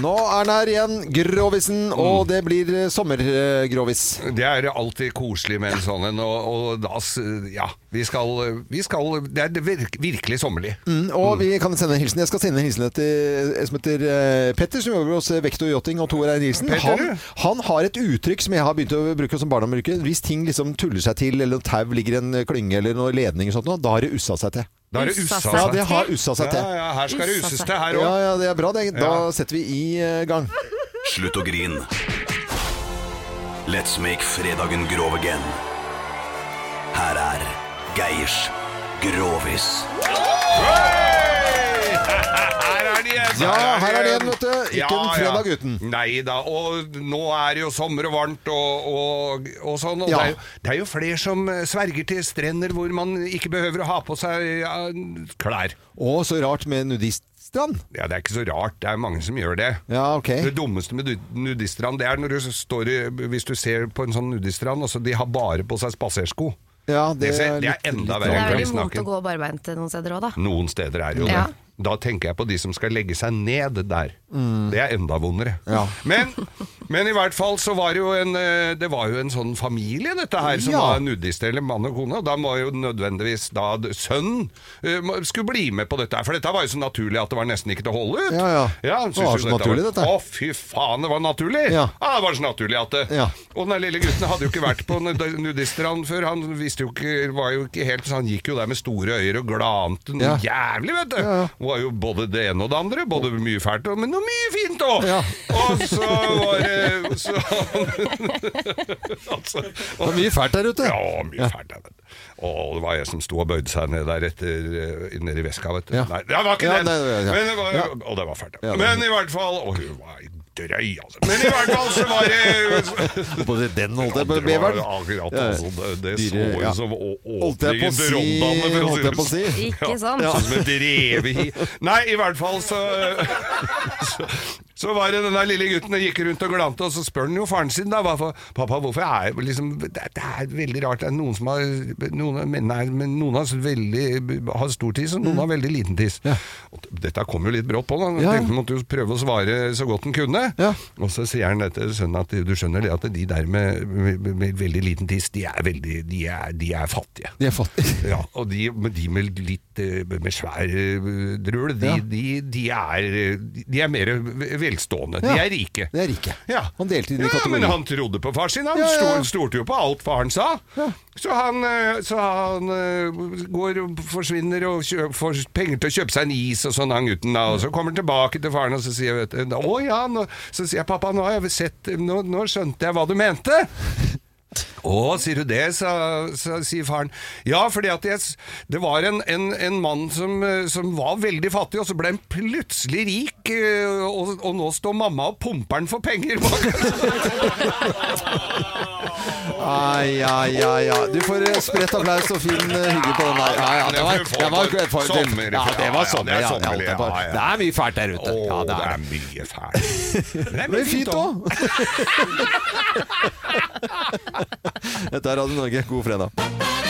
Nå er den her igjen, Grovisen, og det blir eh, sommergrovis.
Det er alltid koselig med en sånn en, og, og da s- Ja, vi skal, vi skal Det er virk, virkelig sommerlig.
Mm, og vi kan sende en hilsen. Jeg skal sende en hilsen til en som heter eh, Petter, som jobber hos Vektor Yachting og Tor Einar Nilsen.
Petter,
Han, han har et uttrykk som jeg har begynt å bruke som barndomsbruker. Hvis ting liksom tuller seg til, eller noe tau ligger i en eh, klynge eller noe ledning og sånt, noe, da har det ussa seg til.
Da har det ussa seg
Ja,
til.
det har ussa seg til.
Ja, ja, her skal det
Ussa
usses
seg.
til her også.
Ja, ja, det er bra det. Da setter vi i eh, gang.
Slutt å grin. Let's make fredagen grov again. Her er Geirs Grovis.
Her er de igjen!
Ja, her er de igjen, vet du. Ikke en fredag
uten. Nei da. Og nå er det jo sommer og varmt og, og, og sånn. Og
Ja.
det, er jo, det er jo flere som eh, sverger til strender hvor man ikke behøver å ha på seg ja, klær.
Å, så rart med nudiststrand.
Ja, det er ikke så rart. Det er mange som gjør det.
Ja, ok.
Det dummeste med nu- nudiststrand, det er når du står i, hvis du ser på en sånn nudiststrand, og så de har bare på seg spasersko.
Ja,
det, ser- det er enda verre
Det
enn
er veldig vondt å
klesnaken.
gå barbeint noen steder òg, da.
Noen steder er jo
Ja.
det. Da tenker jeg på de som skal legge seg ned der.
Mm.
Det er enda vondere.
Ja.
Men, men i hvert fall så var det jo en, eh, det var jo en sånn familie, dette her, som
Ja.
var nudister, eller mann og kone. Og da må jo nødvendigvis da d- sønnen eh, må- skulle bli med på dette her. For dette var jo så naturlig at det var nesten ikke til å holde ut.
Ja, ja.
han
Det
syntes
var
jo
så naturlig,
var-
dette.
Å, fy faen, det var naturlig!
Ja.
Ah, det var så naturlig at det
Ja.
Og den der lille gutten hadde jo ikke vært på nud- nudiststrand før. Han visste jo ikke, var jo ikke helt Så han gikk jo der med store øyne og glante noe
Ja.
jævlig, vet du!
Ja, ja.
Det var jo både det ene og det andre. Både mye fælt, og- men noe mye fint òg!
Ja.
Og så var det så, altså,
Det var mye fælt der ute.
Ja, mye fælt der vet du. Og det var jeg som sto og bøyde seg ned der etter, eh, nede i veska, vet du.
Ja.
Nei, det var ikke
Ja,
den!
nei, nei, ja.
Men det var,
Ja.
Og det var fælt.
Ja, det-
men i hvert fall Og hun var drøy, altså. Men i hvert fall så var det
Både den holdt jeg på
det var
beveren.
akkurat
Ja.
altså, det, det så
Dyre-
ut
ja.
som å-
Holdt jeg på å
åpningen
si-
til Rondane, for å
holdt jeg på å
si det
si.
sånn.
Ikke sant?
Sånn som et revehi. Nei, i hvert fall så, så Så var det den der lille gutten og gikk rundt og glante, og så spør han jo faren sin da hva for, Pappa, hvorfor er jeg liksom det, det er veldig rart. Det er noen som har Noen, av mennene er- men noen har, så veldig, har stor tiss, og noen har veldig liten tiss. Og Dette kom jo litt brått på, da.
Mm. Ja.
Tenkte han måtte jo prøve å svare så godt han kunne. Og så sier han dette sønnen at du skjønner det at de der med, med, med veldig liten tiss, de er, veldig, de er, de er fattige.
De er fattige.
Ja, og de, men de med litt eh, med svær eh, drul, de,
Ja.
de, de, er, eh, de er mer velstående. De
Ja.
er rike.
Det er rike.
Ja.
Han delte inn i
Ja, men
kategorier.
han trodde på far sin. Han
Ja, ja, ja.
stol- stolte jo på alt faren sa. Så han, eh, så han eh, går og forsvinner og kjø- får penger til å kjøpe seg en is og sånn, han gutten. da. Og så kommer han tilbake til faren og så sier vet, du, Å ja, nå, så sier jeg pappa, nå, har jeg sett, nå, nå skjønte jeg hva du mente. Å, sier du det, sa, sa, sier faren. Ja, fordi at jeg, s- det var en, en, en mann som, eh, som var veldig fattig, og så ble han plutselig rik, eh, og, og nå står mamma og pumper han for penger
Ai, ai, ai, ai. Du får eh, spredt applaus og fin eh, hygge på den der. Ja, ja, det var, det var, det var
Sommer,
Ja, det var
ja,
sommer.
det er
Ja, det,
sommer,
holdt jeg på.
ja, ja.
det er mye fælt der ute.
Å,
Ja, det
det
er
er mye fælt. Det
Men fint òg. Dette er Radio Norge, god fredag.